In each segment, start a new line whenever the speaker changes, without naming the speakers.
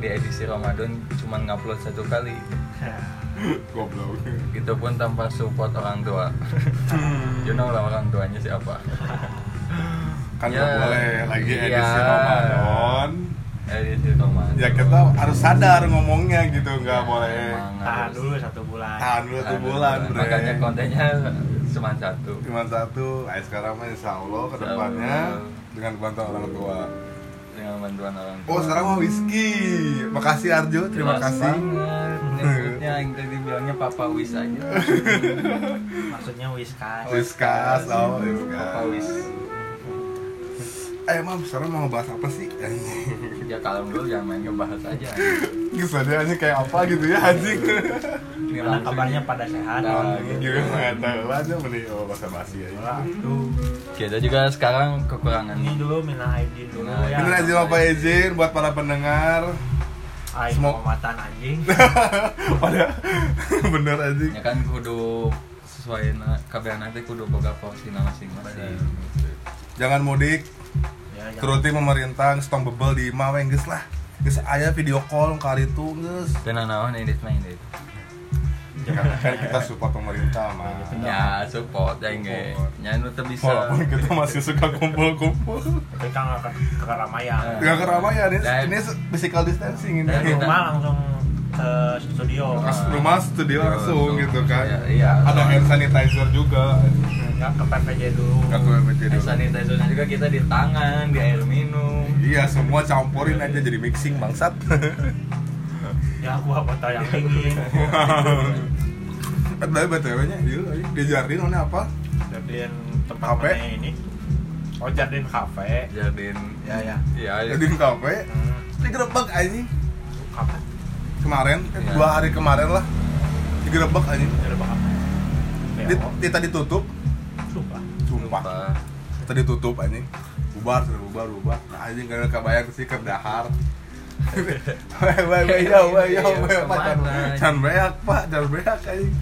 di edisi Ramadan cuman ngupload satu kali
Goblok.
gitu pun tanpa support orang tua
Hmm.
you know lah orang tuanya siapa
Kan nggak
Ya.
boleh lagi edisi
Iya.
Ramadan.
edisi Ramadan
Ya kita harus sadar ngomongnya gitu, nggak
Ya,
boleh
emang
tahan
harus.
dulu satu bulan
Nah, tahan dulu satu
Tahan
bulan, bre.
makanya kontennya cuma satu
Cuma satu, nah, sekarang mah insya Allah ke depannya
Allah.
dengan bantuan orang tua.
dengan bantuan orang tua
Oh sekarang mau whisky, makasih Arjo, terima
Jelas
kasih.
banget. nyebutnya yang tadi bilangnya Papa Wis aja
maksudnya wiskas
Whiskas, oh whiskas.
Papa Wis
Eh mam, sekarang mau bahas apa sih?
ya kalau dulu jangan main ngebahas aja
Kisahnya anjing kayak apa gitu ya anjing
ini
gimana
langsung
kabarnya pada sehat
Nah,
Gitu nggak tahu aja mending oh, bahasa basi aja
Waduh,
kita juga sekarang kekurangan
Nah, gitu. ini
nih
dulu minal aidin dulu
Minal
ya.
Ini aja Bapak izin buat para pendengar
Aing
Semua-
kehormatan anjing. Ya,
Pada bener anjing
ya kan kudu sesuai na KBR nanti kudu boga porsinya masing-masing
Jangan mudik,
Ya, ya.
turuti pemerintah, stong bebel di Mawe geus lah Geus aya video call kali itu geus
tenang naon edit main edit
Kan kita support pemerintah mah
ya support ya enggak ya nu teu bisa
Walaupun kita masih suka kumpul-kumpul
Tapi kan nggak ke, ke keramaian.
Ya.
Gak keramaian, ini,
Dan-
ini physical distancing ini
Dari
Dan-
Ya, rumah langsung ke studio.
Pas rumah studio langsung gitu
Iya,
kan
iya
Ada hand sanitizer juga
Nah, Nggak ke PPJ dulu.
Gak boleh
Hand
menjadi
sanitizer-nya juga kita di tangan di air minum
Iya, semua campurin aja jadi mixing bangsat.
Ya gua botol yang dingin.
Tapi btw-nya, iya, iya. di jardin ini apa?
Jadiin tempat
Kafe?
mana ini. Oh, jadiin kafe.
jadiin
Ya ya.
ya
Jardin kafe.
Hmm,
Digerebek anjing
kafe.
kemarin, eh,
Iya.
dua hari kemarin lah. Digerebek anjing.
Jadi apa kafe?
Iya.
Di-
Beo.
di- Tadi tutup,
Sumpah.
sumpah. Tadi tutup anjing. Bubar, sudah bubar, bubar. Nah, anjing gak ada kebayang sih ke dahar. Wah, wah, wah, yo, wah, yo, wah,
Iya, Kemana,
Pak, jangan-
anjing?
jangan beak, Pak, jangan beak anjing.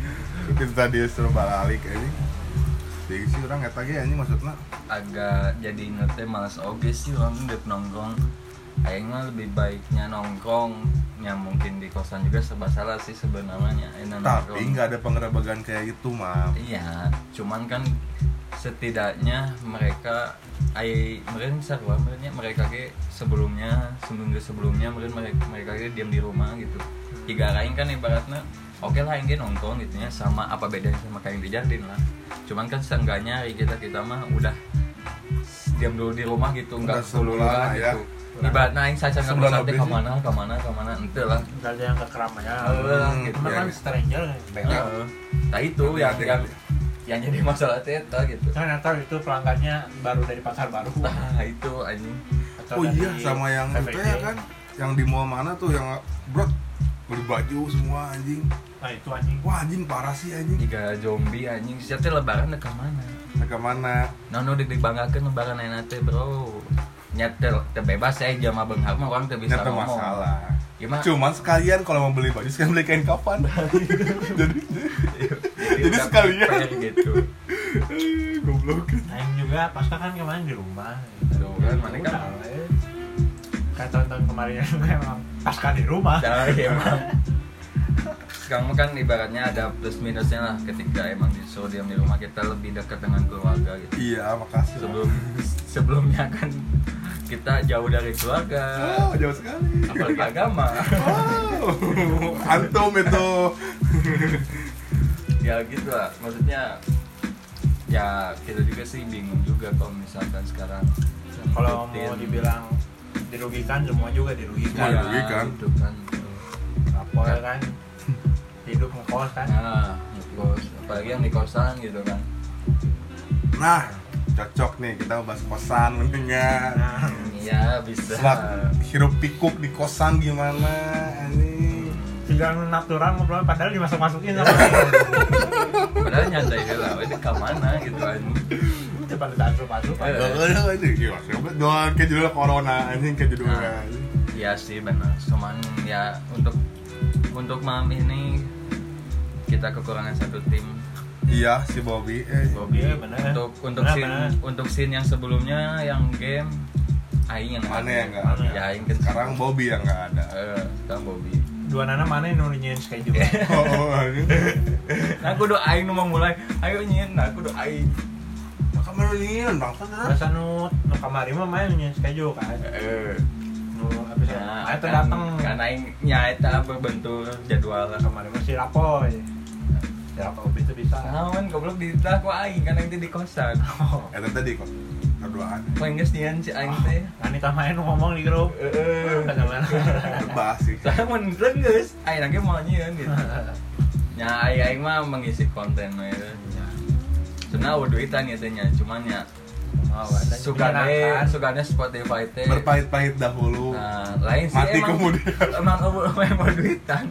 Kita tadi suruh balik anjing. Jadi sih orang nggak tagi anjing maksudnya.
agak jadi ngeteh malas oge sih orang udah nongkrong Aing mah lebih baiknya nongkrong yang mungkin di kosan juga serba salah sih sebenarnya enak
Tapi nggak ada pengerebekan kayak itu, Mam.
iya cuman kan setidaknya mereka ai meren sarua merennya mereka ke sebelumnya seminggu sebelumnya meren mereka mereka ke diam di rumah gitu tiga lain kan ibaratnya oke lah yang nongkrong gitu ya sama apa bedanya sama kayak yang di jardin lah cuman kan seenggaknya hari kita kita mah udah diam dulu di rumah gitu nggak
Udah
seluruh
sebulan, ya.
gitu ibaratnya yang saja nggak
Sebulan
bisa
lebih sih.
kemana kemana kemana ente lah
Jadi yang ke keramaian.
Eh, gitu
Cuma
ya,
kan
gitu.
stranger.
Beo.
Heeh. nah itu yang yang yang jadi masalah teta gitu
Ternyata itu pelanggannya baru dari pasar baru.
Nah itu anjing
Atau
Ah. Oh iya,
dari
sama yang itu
PPJ.
ya kan, yang di mall mana tuh yang bro beli baju semua anjing.
Nah itu anjing.
Wah anjing parah sih anjing. Nah,
Jika zombie anjing Siatnya lebaran deh mana?
Ke mana?
Nono deg deg banggakan lebaran enak teh bro Nyetel, teh bebas ya jama benghar mah orang teh bisa
Ternyata
ngomong
masalah.
Gimana?
Cuman sekalian kalau mau beli baju sekalian beli kain kapan. Jadi Jadi
udah
sekalian.
prepare gitu
eh, goblok.
Aing juga pasca kan kemarin di rumah. gitu.
Tuh kan, mana kan
Udah, eh. Kayak tahun-tahun kemarin memang pasca kan di rumah.
Nah, emang sekarang mah kan ibaratnya ada plus minusnya lah ketika emang disuruh diam di rumah kita lebih dekat dengan keluarga gitu
Iya, makasih.
sebelum sebelumnya kan kita jauh dari keluarga
Oh, jauh sekali.
apalagi agama
Wow. Antum itu.
ya gitu lah maksudnya ya kita juga sih bingung juga kalau misalkan sekarang
Kalau
ngikutin.
mau dibilang dirugikan semua juga
Ya,
dirugikan.
Iya. dirugikan.
gitu kan
Lapor kan hidup ngekos kan.
nah ngekos. apalagi yang di kosan gitu kan
Nah, cocok nih kita bahas kosan kan? mendingan.
Nah,
ya bisa
Selat hirup pikuk di kosan gimana anjing.
tinggal natural ngobrol padahal dimasuk-masukin sama
padahal nyantai aja lah itu ke mana gitu kan
depan depan masuk
Eh.
Aduh, anjing, gila, siapa? Iya, Doang kayak judul corona anjing kayak judul
Nah. ya sih benar cuman ya untuk untuk malam ini kita kekurangan satu tim
Iya si Bobby. Eh,
Bobby
Iya, benar.
untuk untuk
Benar,
scene
benar.
untuk scene yang sebelumnya yang game aing yang
Mana
ada.
yang nggak ada?
ya aing kan
Sekarang Bobby yang nggak ada.
Eh, sekarang Bobby
dua nana mana yang nunjukin schedule
Oh, oh, anjing.
nah aku doa aing nu mulai ayo nyin nah aku doa aing
Maka mana ini bangsa kan?
terus anu nu kamari mah main nunjukin schedule kan
eh
nu abis itu
nah,
ayo teh
kan-
datang
kan aing nyaeta berbentur jadwal
kamari mah si rapoy si rapoy itu bisa
Naon goblok di tah ku aing kan aing teh di kosan.
oh
Eh tadi kok berduaan.
Poin geus nian si aing teh.
Eh,
Eh,
Anita main ngomong di grup
Heeh.
Kan kemana?
Bebas sih.
Saya mun leunggeus aing lagi mau nyian gitu. Nya aing aing mah mengisi konten eh. we. Cenah we duitan ya teh nya, cuman ya
Oh, ada yang
suka deh,
menyenangkan.
suka deh Spotify teh.
Berpahit-pahit dahulu.
Nah, lain sih
Mati
emang,
kemudian.
emang kamu mau duitan.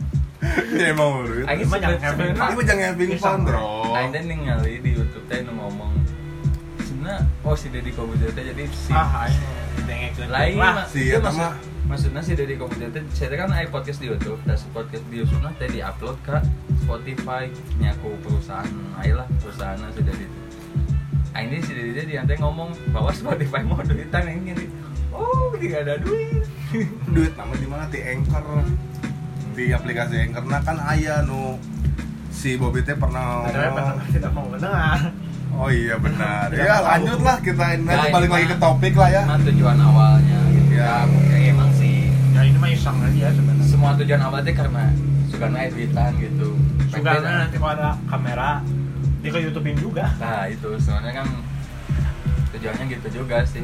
Ya emang urut.
Aing
Ini
Emang yang
sebe-
having
sebenarnya-
fun.
mah jangan having fun, bro.
Aing teh ningali di YouTube teh nu ngomong Cina, oh si Deddy Kobuzer teh jadi si
ah ayo dengekeun
lain
lah iya,
mah
si
itu iya,
eta
maksud-
mah.
maksudnya sih dari komputer teh saya teh kan ada podcast di YouTube dan si podcast di YouTube teh di upload ke Spotify nyaku perusahaan ayolah perusahaan si dari itu Nah, ini si dari dia diantai ngomong bahwa Spotify mau duitan yang ini oh tidak ada duit
duit nama di mana di anchor di aplikasi anchor nah kan ayah nu si Bobby teh pernah
Padahal
ngomong
pertama kita mau mendengar
oh iya benar
Tidak
ya
tahu.
lanjutlah kita
Nah,
ini nanti
ini
balik lagi
mah-
ke topik lah ya
Cuma tujuan awalnya gitu
Ya.
ya mungkin emang sih
ya ini mah iseng aja sebenarnya
semua tujuan awalnya karena suka naik duitan gitu
suka
Pengen-
nanti kalau ada kamera di ke YouTubein juga
Nah itu sebenarnya kan tujuannya gitu juga sih.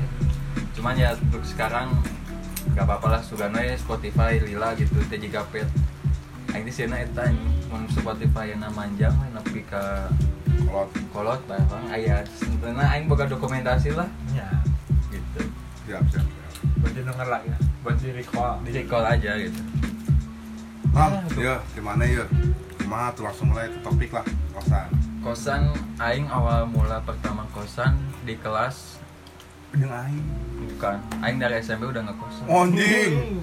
Cuman ya untuk sekarang nggak apa-apa lah Sugano ya Spotify Lila gitu TJKP. Aing di sini eta mun Spotify yang manjang we nepi ka
kalau
kolot lah bang aya sebenarnya aing boga dokumentasi lah
ya
gitu.
siap siap, siap.
buat didengar lagi ya buat di recall
Di recall aja gitu.
Mam,
Ah, tuh.
yo, Nah, iya, gimana yo? Mah tuh langsung mulai ke topik lah, kosan.
Kosan aing awal mula pertama kosan di kelas
Yang aing.
bukan aing dari SMP udah ngekosan.
Oh. Anjing.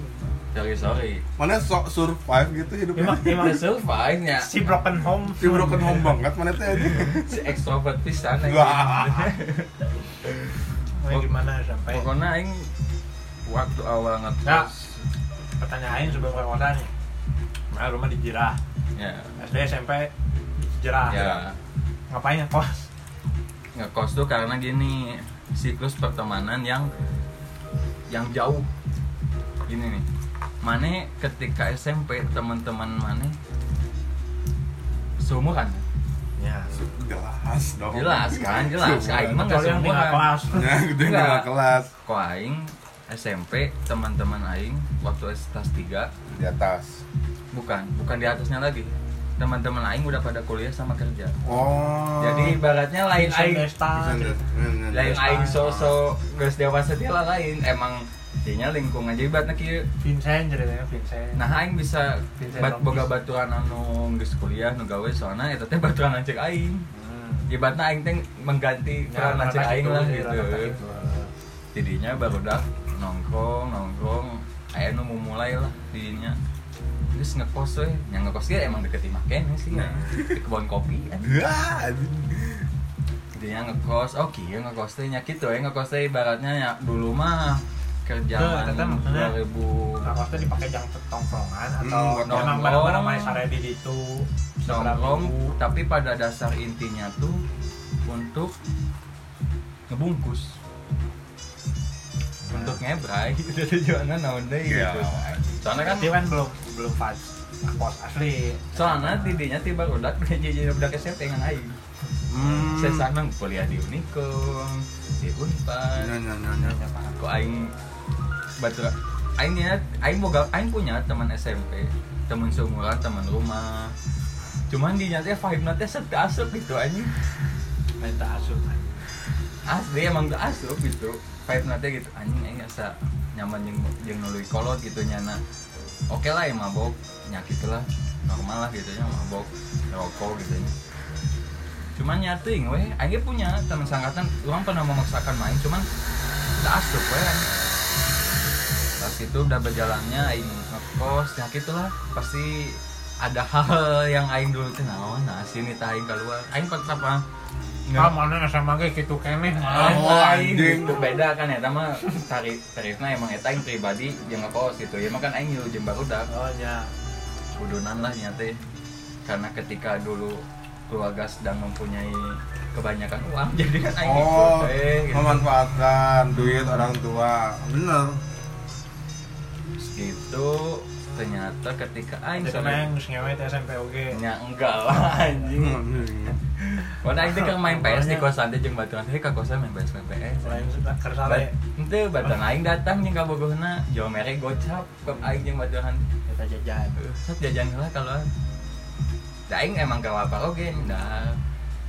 Dari sorry.
Mana sok survive gitu hidupnya.
Emang, emang
Udah survive nya.
Nah. si broken home
Di broken home banget mana teh anjing.
si ekstrovert pisan aing.
Wah.
Mau gimana sampai
Pokoknya aing waktu awal
Nah.
ngekos
pertanyaan sebelum ke kota nih nah rumah di Jirah
ya
SD SMP di Jirah
ya
ngapain ya kos
ngekos tuh karena gini siklus pertemanan yang yang jauh gini nih Mane ketika SMP teman-teman Mane seumuran
ya
Jelas dong.
jelas kan jelas
Seumuran.
Aing mah nggak kan.
kalau yang tinggal
seumuran
kelas
Ya, gede nggak
Enggak.
kelas
kok Aing SMP teman-teman Aing waktu kelas 3
di atas.
bukan bukan di atasnya lagi teman-teman Aing udah pada kuliah sama kerja
Oh.
jadi ibaratnya lain Aing
Bisa,
Sesta gitu.
nggak, nggak,
lain
nggak.
aing sosok geus dewasa dia lah lain emang dinya lingkungan jadi bat kieu
Vincent ceritanya Vincent
nah aing bisa
Vincent
bat
Lopez.
boga baturan anu geus kuliah nu gawe soalnya eta teh baturan cek aing
Hmm.
ibaratna aing teh mengganti
Ya,
peran cek
rata-rata
aing
gitu,
lah
ya,
gitu
rata-rata gitu.
jadinya baru dah nongkrong nongkrong aya nu mau mulai lah dinya terus ngekos we yang ngekos dia emang deket imah kene sih ya. di kebun kopi kan
Ah, anjing.
dia ngekos oh kieu ngekos teh nya kitu ya ngekos teh ibaratnya ya dulu mah kerjaan
Tuh, teteh maksudnya,
2000
Nah, maksudnya dipakai jang tongkrongan
Hmm,
atau
buat
emang
nongkrong.
barang-barang main sare di situ
nongkrong
Seberapa-
tapi pada dasar intinya tuh untuk ngebungkus untuk ngebrai itu tujuannya naon deui
Ya,
gitu soalnya kan
Berarti kan belum belum pas kos asli.
soalnya tidinya tiba udah jadi udah SMP dengan aing
Hmm.
saya sanang kuliah di Unicom di Unpad
Nya, nya, nya, nya.
kok aing batu aing niat aing boga aing punya teman SMP teman seumuran teman rumah cuman di nyatanya vibe nanti set asup gitu anjing
minta asuh.
asli emang gak asup gitu vibe nanti gitu anjing aing asa nyaman jeung jeung nului kolot gitu nyana oke lah ya mabok nyakit lah normal lah gitu ya mabok rokok gitu ya cuman nyating weh aing ge punya teman sangkatan orang pernah memaksakan main cuman gak asup weh anjing. pas itu udah berjalannya aing ngekos nyakit lah pasti oh, nah, ada hal yang aing dulu teh naon nah sini tah aing keluar aing kontra apa
ah mana sama gitu, ge kitu keneh mah
Oh, anjing.
beda kan ya mah tarif tarifnya emang eta yang pribadi jeung ngekos gitu ya mah kan aing ngilu jeung barudak
oh nya
kudunan lah nya teh karena ketika dulu keluarga sedang mempunyai kebanyakan uang jadi kan aing ikut
Oh,
eh gitu.
memanfaatkan duit orang tua. Bener.
Terus gitu ternyata ketika aing
jadi mah
sampai
yang geus ngewe teh SMP oge
nya enggak lah anjing
Hmm. iya,
Wana aing teh keur main PS di
Pokoknya-
kosan teh jeung baturan hei ka kosan main PS main PS.
lain sudah kersale
Bat- Ente baturan aing datang jeung ka bogohna, jauh mere gocap ke aing jeung baturan.
kita jajan
Eh, Sok jajan heula kalau Da aing emang gak apa oge, da.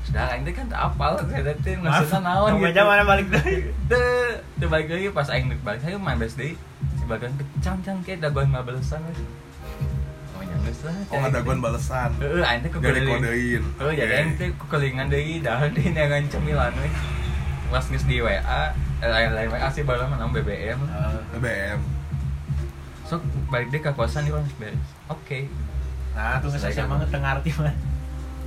Sudah aing teh kan tak apal saya teh maksudna naon
gitu aja mana balik deui
Teu teu balik lagi pas aing deuk balik saya main PS deui. Si baturan kecang-cang ke daguan 15-an we. Oh nya geus lah.
Oh, ada gon balesan.
Heeh, aing teh
Gak
kekeliling.
dikodein.
Oh jadi aing teh kelingan deui dah di neangan cemilan we. Pas geus di WA, eh, lain-lain WA sih baru menang BBM.
Ah. BM.
Sok balik deh ke kosan di Mas beres. Oke.
nah tuh geus
Saya
asa mah teu ngarti mah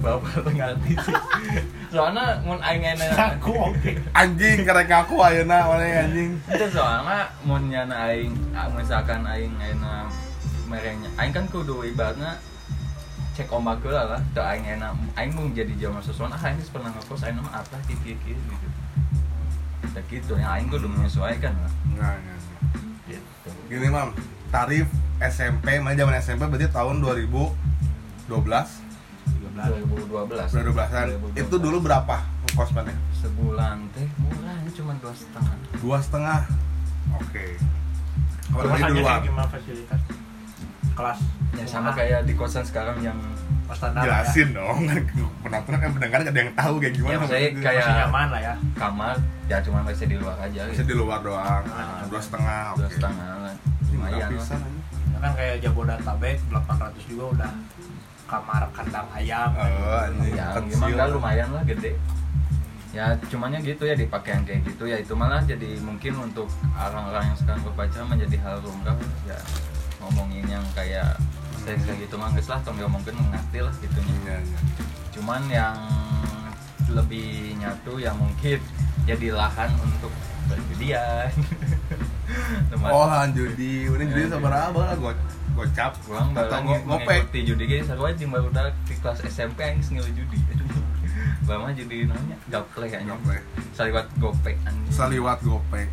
Bapak tuh ngerti sih. Soalnya mun aing ngana.
aku oke
Anjing karek ngaku ayeuna mana anjing.
Itu soalnya mun nyana aing ah, misalkan aing ngana merenya. Aing kan kudu ibaratna cek ombak heula lah. Teu aing ngana aing mung jadi jelema sesuatu ah aing geus pernah ngekos aing mah atah titik gitu. Ya gitu ya aing kudu menyesuaikan lah.
Enggak, enggak.
Gitu.
Gini, Mam. Tarif SMP, mana zaman SMP berarti tahun
2012.
2012. Udah 12-an.
2012.
Itu dulu berapa kos mana?
sebulan teh murahnya cuma dua setengah.
Dua setengah. Oke. Kalau
Cuma
dari
tanya
duluan.
kayak gimana fasilitas kelas
Ya sama
Ah,
kayak di kosan sekarang yang
kelas standar lah ya.
Jelasin dong. Penonton kan pendengar nggak ada yang tahu kayak gimana.
Ya, maksudnya
Gitu.
kayak-
masih nyaman lah ya
kamar ya cuma bisa di luar aja
bisa
gitu.
di luar doang. Nah,
Ah,
Dua setengah.
Dua
oke.
setengah lah.
Nggak
Lumayan lah.
bisa, anjing.
Ya kan kayak Jabodetabek 800 juga udah kamar kandang ayam
Eh, anjing.
Ya
Kecil.
gimana enggak, lumayan lah gede. Ya cumannya gitu ya di pakaian kayak gitu ya itu malah jadi mungkin untuk orang-orang yang sekarang berpacaran menjadi hal lumrah ya ngomongin yang kayak seks kayak gitu mah geus lah tong diomongkeun ngerti lah gitunya.
Iya, iya.
cuman yang lebih nyatu yang mungkin jadi lahan untuk berjadian Teman-
Oh, judi. Ini judi sabar abang lah go- gocap.
Pulang
atau
barang
ngo- ngopek.
ngikuti judi ge sarua jeung baru udah di kelas SMP aing geus ngilu judi. Bama judi namanya gaple kayaknya.
Ngopek.
Saliwat gopek anjing.
Saliwat gopek.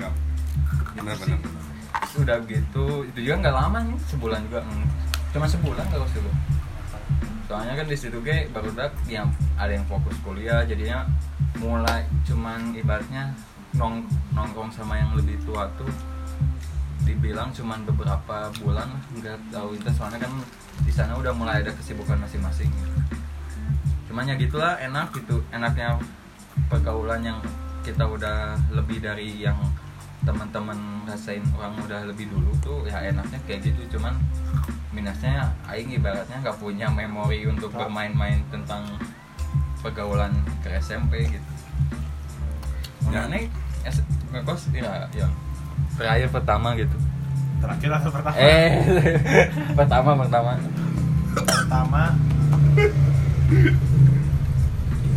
Gap. Bener-bener.
Udah gitu, itu juga nggak lama nih, sebulan juga. hmm. Cuma sebulan kalau dulu. Soalnya kan di situ ge baru udah yang ada yang fokus kuliah jadinya mulai cuman ibaratnya nong nongkrong sama yang lebih tua tuh dibilang cuman beberapa bulan lah nggak tahu itu soalnya kan di sana udah mulai ada kesibukan masing-masing gitu. cuman ya gitulah enak gitu enaknya pergaulan yang kita udah lebih dari yang teman-teman rasain orang udah lebih dulu tuh ya enaknya kayak gitu cuman minusnya aing ibaratnya nggak punya memori untuk bermain-main tentang pergaulan ke SMP gitu
Ya.
ya. nih S- ngekos ya, ya terakhir pertama gitu
terakhir atau pertama
eh pertama pertama
pertama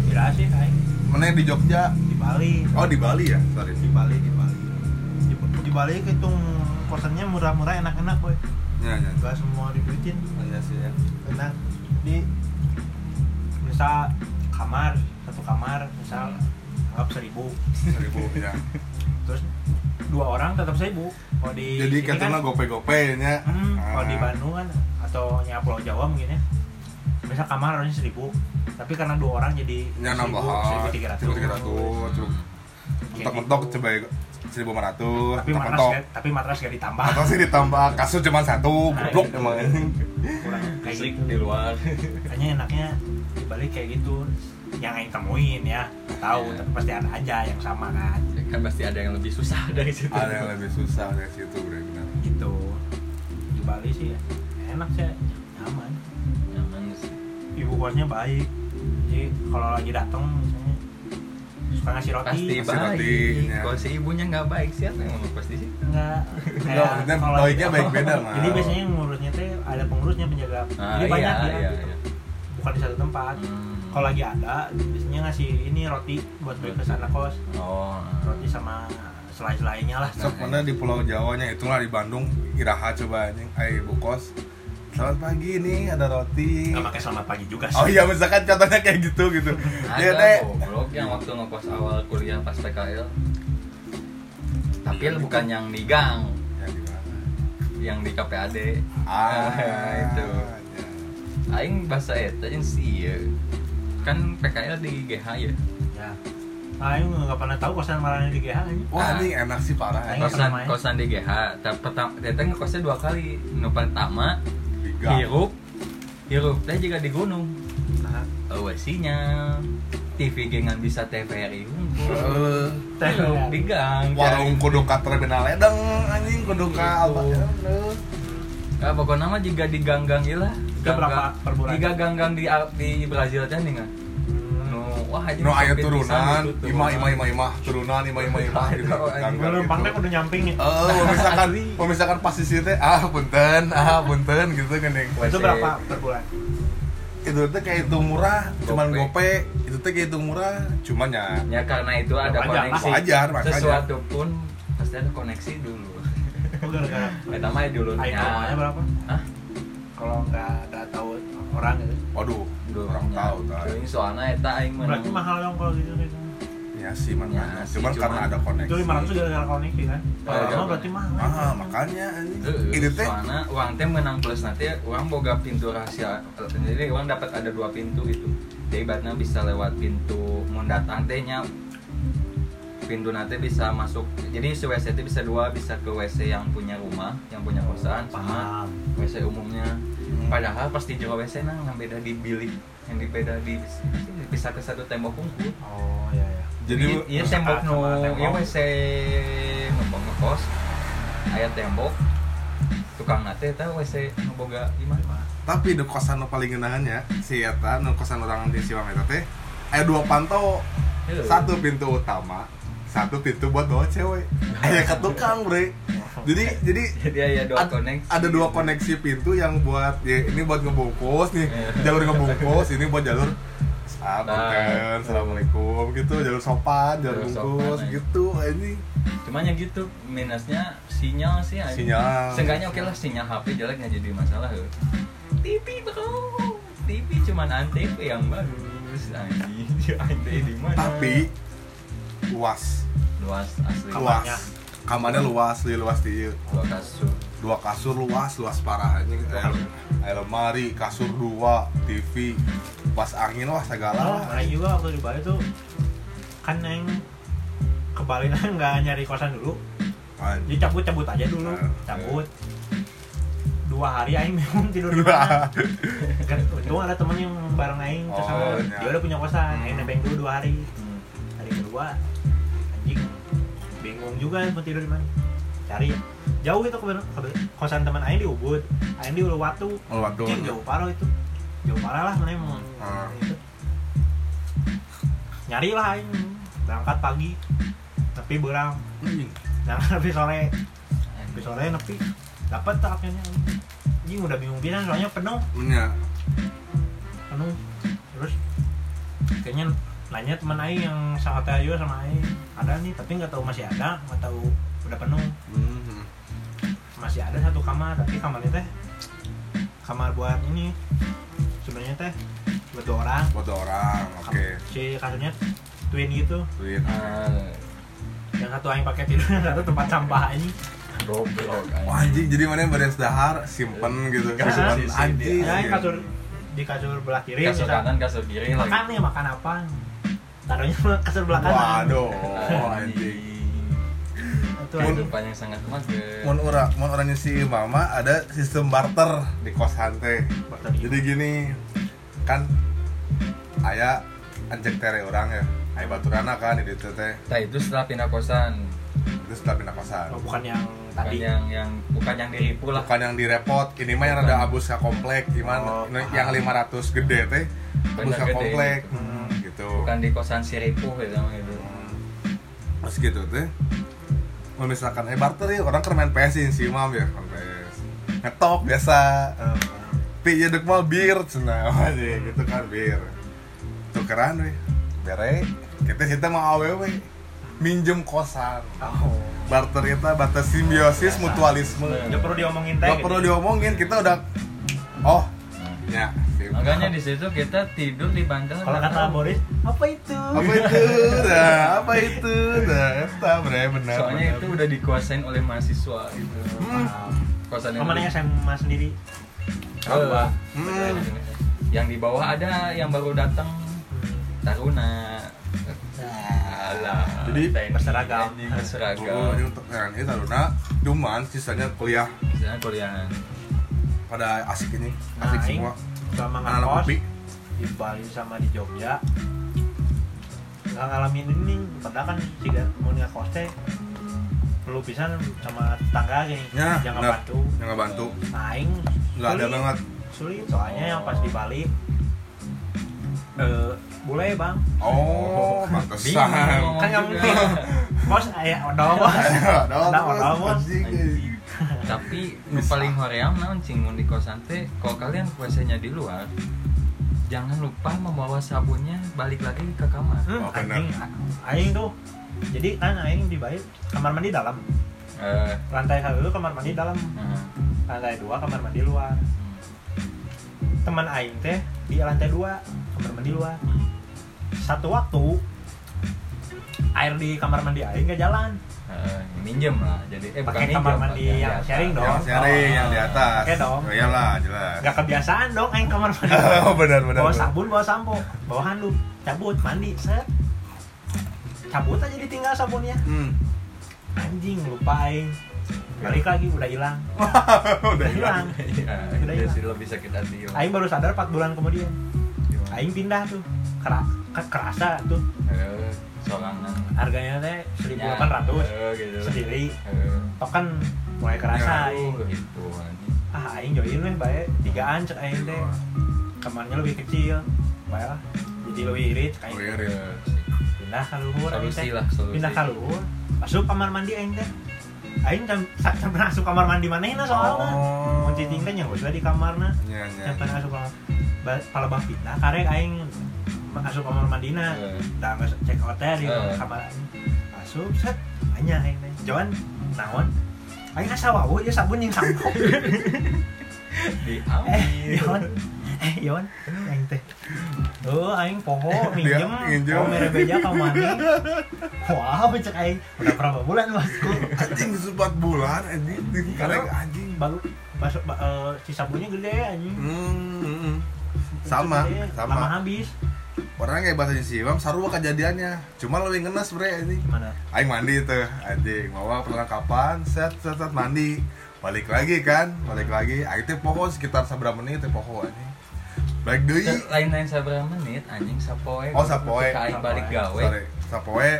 gila sih aing
Mana di Jogja?
di Iya, Bali
Oh, di Bali ya? Sorry.
di Bali di Bali di, di Bali hitung kosannya murah-murah enak-enak boy
Ya, ya.
gak semua dibuitin
Iya sih ya.
enak di misal kamar satu kamar misal anggap seribu
Seribu ya.
terus dua orang tetap seribu kalau di
Jadi
sini kan
katanya gope-gope nya.
hmm, kalau di
Ah.
Bandung kan atau nya Pulau Jawa mungkin ya misal kamar harusnya seribu tapi karena dua orang jadi
Ya nambah
seribu tiga ratus Hmm, gitu.
ratus mentok-mentok coba seribu lima ratus
tapi kan? matras
mentok-mentok
gak- tapi matras gak ditambah
atau sih ditambah kasus cuma satu
Nah,
goblok
iya.
emang
kurang kayak
listrik
gitu
di luar
hanya enaknya di Bali kayak gitu yang aing temuin ya Nggak tahu
Iya.
tapi pasti ada aja yang sama kan
kan pasti ada yang lebih susah dari situ
ada yang lebih susah dari situ bro benar.
gitu di Bali sih ya, enak sih nyaman
nyaman sih
ibu kosnya baik jadi kalau lagi datang misalnya suka ngasih roti
pasti Iya.
Pasti roti,
baik
ya.
kalau si ibunya nggak baik siapa yang mau pasti sih
enggak
Enggak, maksudnya baiknya baik beda, Mal.
jadi biasanya yang ngurusnya teh ada pengurusnya penjaga
Ah,
jadi banyak
iya,
ya
iya,
gitu.
iya.
bukan di satu tempat
Hmm.
kalau lagi ada biasanya ngasih ini roti buat beli ke sana kos
oh
roti sama selai-selainya lah
Sok mana di Pulau Jawanya itulah di Bandung Iraha coba anjing. Ai bukos. Selamat pagi nih ada roti.
nggak pakai selamat pagi juga sih
Oh iya misalkan contohnya kayak gitu gitu. Dia teh
ada goblok yang waktu ngekos awal kuliah pas PKL tapi bukan yang di gang
Ya, di mana?
yang di KPAD
Ah
itu
ya.
aing bahasa eta jeung sih ieu. kan PKL di GH ya
ya Ayo nggak pernah tahu kosan marahnya di GH aja
Wah
Ah.
ini enak sih parah.
Aing
Enak.
kosan
namanya?
kosan di GH tapi pertama eta ngekosnya dua kali nu pertama
Tiga.
Iya,
hirup hirup teh juga di gunung eueuh sinyal TV gengan bisa TVRI unggul
Eh,
Hirup di gang
Warung kudu ka terminal ledeng anjing kudu
Gitu.
ka apa ya, aduh.
Ah, pokoknya mah juga di gang-gang ilah.
Itu berapa per bulan? Hmm.
Tiga gang-gang di di Brazil teh nih nggak? No, wah aja.
Nu aya turunan, imah imah imah imah, turunan imah imah imah gitu.
Aduh, anjing.
Ganggang
Belum
gitu.
pangnya udah nyamping nih.
Oh, misalkan, misalkan pas di situ, ah punten, ah punten gitu kan Deng.
Oh,
Itu berapa per bulan?
Itu tuh kayak itu murah, cuman
Gope.
gope. Itu tuh kayak itu murah, cuman ya.
Ya karena itu ada
Wajar,
koneksi.
wajar, wajar.
Sesuatu pun pasti ada koneksi dulu.
Oh, gara-gara.
Kita mah dulu
Ayo namanya berapa?
Hah?
Kalau nggak nggak tahu orang gitu.
Waduh,
Dulu
orang
nya.
tahu tah.
Cuy, soalnya eta aing menang.
Berarti mahal dong kalau gitu gitu.
Ya sih, man,
Ya
man.
sih,
cuman
cuman-
karena ada koneksi.
Itu 500 gara-gara koneksi kan. Kalau
Gara-gara
mahal berarti mahal. kan?
Ah, makanya anjing.
Heeh,
Ini Gitu teh
Eh, soalnya uang teh menang plus nanti uang boga pintu rahasia jadi uang dapat ada dua pintu gitu jadi ibaratnya bisa lewat pintu mun datang teh nya pintu nanti bisa masuk jadi si WC itu bisa dua bisa ke WC yang punya rumah yang punya kosan sama
Paham.
WC umumnya padahal pasti jero WC nah yang beda di bilik yang di beda di bisa ke satu tembok unggul
Oh iya iya.
jadi
iya tembok nu
sama tembok.
iya wc numpang ngekos aya tembok tukang nate eh, eta wc nu boga gimana
tapi di kosan nu paling geunahan ya si eta nu kosan orang di Siwang eta teh aya dua pantau
Iya.
Iya.
satu pintu utama satu pintu buat bawa cewek aya ke tukang bre jadi jadi
jadi aya dua
ad-
koneksi
ada dua koneksi pintu yang buat ya, ini buat ngebungkus nih
Iya.
jalur ngebungkus ini buat jalur
Nah.
ah, bukan, assalamualaikum gitu jalur sopan jalur
Jalur sopan, iya.
bungkus
aja.
gitu ini
cuman ya gitu minusnya sinyal sih aja.
Sinyal.
seenggaknya oke lah sinyal HP jelek nggak jadi masalah ya. TV bro TV cuman antv yang bagus anjing antv di mana
tapi luas
luas asli
Luas.
luas
Kamarnya.
kamarnya luas li luas di ieu.
dua kasur
dua kasur luas luas parah anjing Aya- aya lemari kasur dua TV pas angin wah segala
Oh,
lah.
aing juga waktu di Bali tuh kan yang ke Bali nggak nyari kosan dulu,
Anjing.
jadi cabut cabut aja dulu,
Ah,
cabut. Dua hari aing memang tidur di
Wah.
mana. kan untung ada temen yang bareng aing terus
Oh,
sama
iya.
dia udah punya kosan aing nebeng dulu dua hari
Hmm.
hari kedua anjing bingung juga mau tidur di mana cari jauh itu ke, ke- kosan teman aing di ubud aing di uluwatu
Oh, waduh
anjing jauh parah itu jauh parah lah mana emang
Ah.
itu nyari lah aing berangkat pagi tapi berang
Anjing.
nah tapi sore tapi sore nepi dapat tak akhirnya anjing udah bingung pisan soalnya penuh
Punya.
anu terus kayaknya nanya teman Aing yang sangat ayu sama Aing ada nih tapi nggak tahu masih ada nggak tahu udah penuh
Mhm.
masih ada satu kamar tapi kamarnya teh kamar buat ini sebenarnya teh buat dua orang
buat orang oke
si kasurnya twin gitu
Duit.
Ah,
yang satu Aing pakai tidur yang satu tempat sampah ini
goblok
Wah, anjing jadi mana yang beres dahar simpen gitu
Kan,
simpen
sisi
anjing
dia.
ya Aing
gitu.
kasur di kasur belah kiri
kasur
misalkan.
kanan kasur kiri
makan
lagi
nih makan apa taruhnya kasur belah kanan
waduh anjing
anjing
Itu Aing.
kehidupan yang sangat mager
Mun ura, mun orangnya si mama ada sistem barter di kosan teh.
Barter di-
Jadi gini, kan ayah anjek tere orang ya, ayah baturana kan di ditu teh,
nah itu setelah pindah kosan
terus udah pindah kosan.
Oh, bukan yang
bukan
tadi
yang yang bukan yang diripu lah
Bukan yang direpot, ini mah yang
Bukan.
rada abus ka komplek, gimana?
Oh, paham.
yang 500 gede teh, abus
Bener
ka
gede.
komplek,
Hmm.
gitu.
bukan di kosan si ripuh gitu gitu
Terus gitu teh, mun misalkan eh barter ya orang kermain PS sih mam ya, main PS. Ngetok biasa,
Eh,
Pi ya dek mah bir cenah aja gitu kan bir. tukeran we bere kita kita mau aww minjem kosan
Oh.
barter kita barter simbiosis mutualisme
Nggak perlu diomongin teh. gitu.
nggak perlu diomongin kita udah oh ya
Makanya di situ kita tidur di bantal.
Kalau kata Boris, apa itu?
apa itu nah apa itu nah eta bre benar
soalnya
benar.
itu udah dikuasain oleh mahasiswa gitu.
Hmm.
Kosan yang
Kemana ya SMA sendiri?
Apa?
Hmm.
Yang di bawah ada yang baru datang Taruna. Alah.
Jadi,
TNI,
berseragam.
TNI,
Oh,
Berseragam.
ini untuk TNI Taruna cuman sisanya kuliah
Misalnya kuliahan.
pada asik ini
Nah,
asik
aing
semua
Selama
anak
ngekos
kopi
di Bali sama di Jogja nggak ngalamin ini padahal kan jika mau ngekos teh perlu pisan sama tetangga gini
ya
jangan
benar.
bantu
yang nggak bantu
nah aing
nggak ada
sulit.
banget
sulit soalnya yang pas di Bali eh boleh bang
oh
Bingung
pantesan
ngomong
Kan nggak
juga.
mungkin. bos ayah odol bos
ada
Ada orang,
orang
Mas.
Tapi nu paling hoream naon cing mun di kosan teh, kalau kalian puasanya di luar, jangan lupa membawa sabunnya balik lagi ke kamar.
hmm,
Oh, benar.
aing aing tuh jadi kan aing di Bali kamar mandi dalam
Eh,
lantai satu tuh kamar mandi dalam
nah,
lantai dua kamar mandi luar teman aing teh di lantai dua kamar mandi luar
hmm.
satu waktu air di kamar mandi aing nggak jalan
Eh, minjem lah jadi eh bukan
pakai
minjem,
kamar mandi
pakai
yang
biasa.
sharing
yang
dong
sharing yang di atas
Oke dong.
Oh, iyalah jelas
nggak kebiasaan dong aing kamar mandi
oh benar benar
bawa
benar.
sabun bawa sampo bawa handuk cabut mandi set cabut aja ditinggal sabunnya
hmm.
anjing lupa aing balik lagi udah hilang
udah
udah
hilang
hilang
Iya, dia
Udah hilang.
sih lebih sakit hati yo.
aing baru sadar 4 bulan kemudian
Gimana?
aing pindah tuh Kera- ke- kerasa tuh
Eh, sorangan
harganya teh
Ya,
1800
eh, gitu
sendiri iya.
Eh,
token mulai
Ya,
kerasa aing
aduh, gitu anjing.
ah aing join weh bae tigaan cek aing teh kamarnya lebih kecil bae lah jadi lebih irit
Oh,
kayak
iya, iya.
pindah ke luhur aing
solusi
teh
lah solusi
pindah ke luhur asup kamar mandi aing teh aing jam jam pernah asup kamar mandi manehna soalnya
oh
mau cicing teh nyawa sudah di kamarna
Iya, iya.
jam pernah asup kamar ba- palebah pindah karek aing asup kamar mandina
Eh,
udah nggak cek hotel di
Eh.
kamar aing asup set banyak aing teh Joan naon aing asa wawu ya sabun yang sampo
diambil.
eh Yon eh Yon aing teh oh aing poho
Dia
minjem
minjem.
oh mere beja ka mani wah wow, cek aing udah berapa bulan masku
anjing sebat bulan anjing di karek anjing
baru masuk ba, eh, si sabunnya gede anjing
Hmm, hmm, hmm. sama
Gede, lama
sama
habis
orang kayak bahasa siwam sarua kejadiannya cuma lebih ngenes bre ini
gimana
aing mandi tuh anjing bawa perlengkapan set set set mandi balik lagi kan balik lagi aing teh poho sekitar seberapa menit teh poho anjing balik deui
lain-lain sabar menit anjing sapoe
Oh, sapoe.
Ka aing balik
Sapoe.
gawe
sore sapoe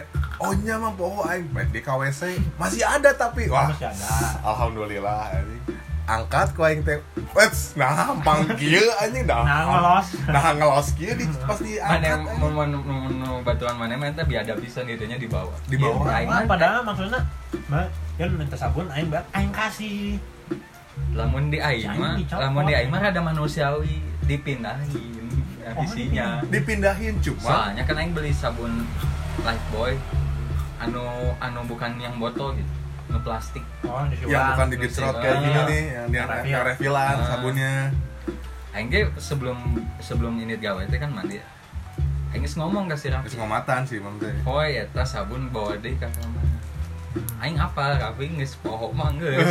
oh nya mah poho aing balik di KWC masih ada tapi wah
Masih ada.
alhamdulillah anjing angkat ku aing teh wets nah panggil anjing dah
nah ngelos
nah ngelos kieu di pas
mana
diangkat
yang
anjing.
mau- mau- mau- mau batuan mana mana tapi ada bisa gitunya di bawah
Di bawah.
Iya, aing
Wah,
mah
padahal maksudnya Ma, Yon minta sabun, aing bayar, aing kasih
lamun di aing
Aing
mah
dicopot.
lamun di aing mah ada manusiawi dipindahin eh, visinya
dipindahin cuma
soalnya kan aing beli sabun Lifebuoy anu anu bukan yang botol gitu nu plastik
Oh,
yang
disuruh
Iya, bukan digecrot kayak gini
Iya.
nih yang yang
Refill.
yang refillan
Ah.
sabunnya
aing ge sebelum sebelum ini gawe teh kan mandi aing geus ngomong ka si Raffi.
Terus ngomatan sih mam teh.
Poe eta sabun bawa deui ka kamar. Aing apa Raffi geus poho mah geus.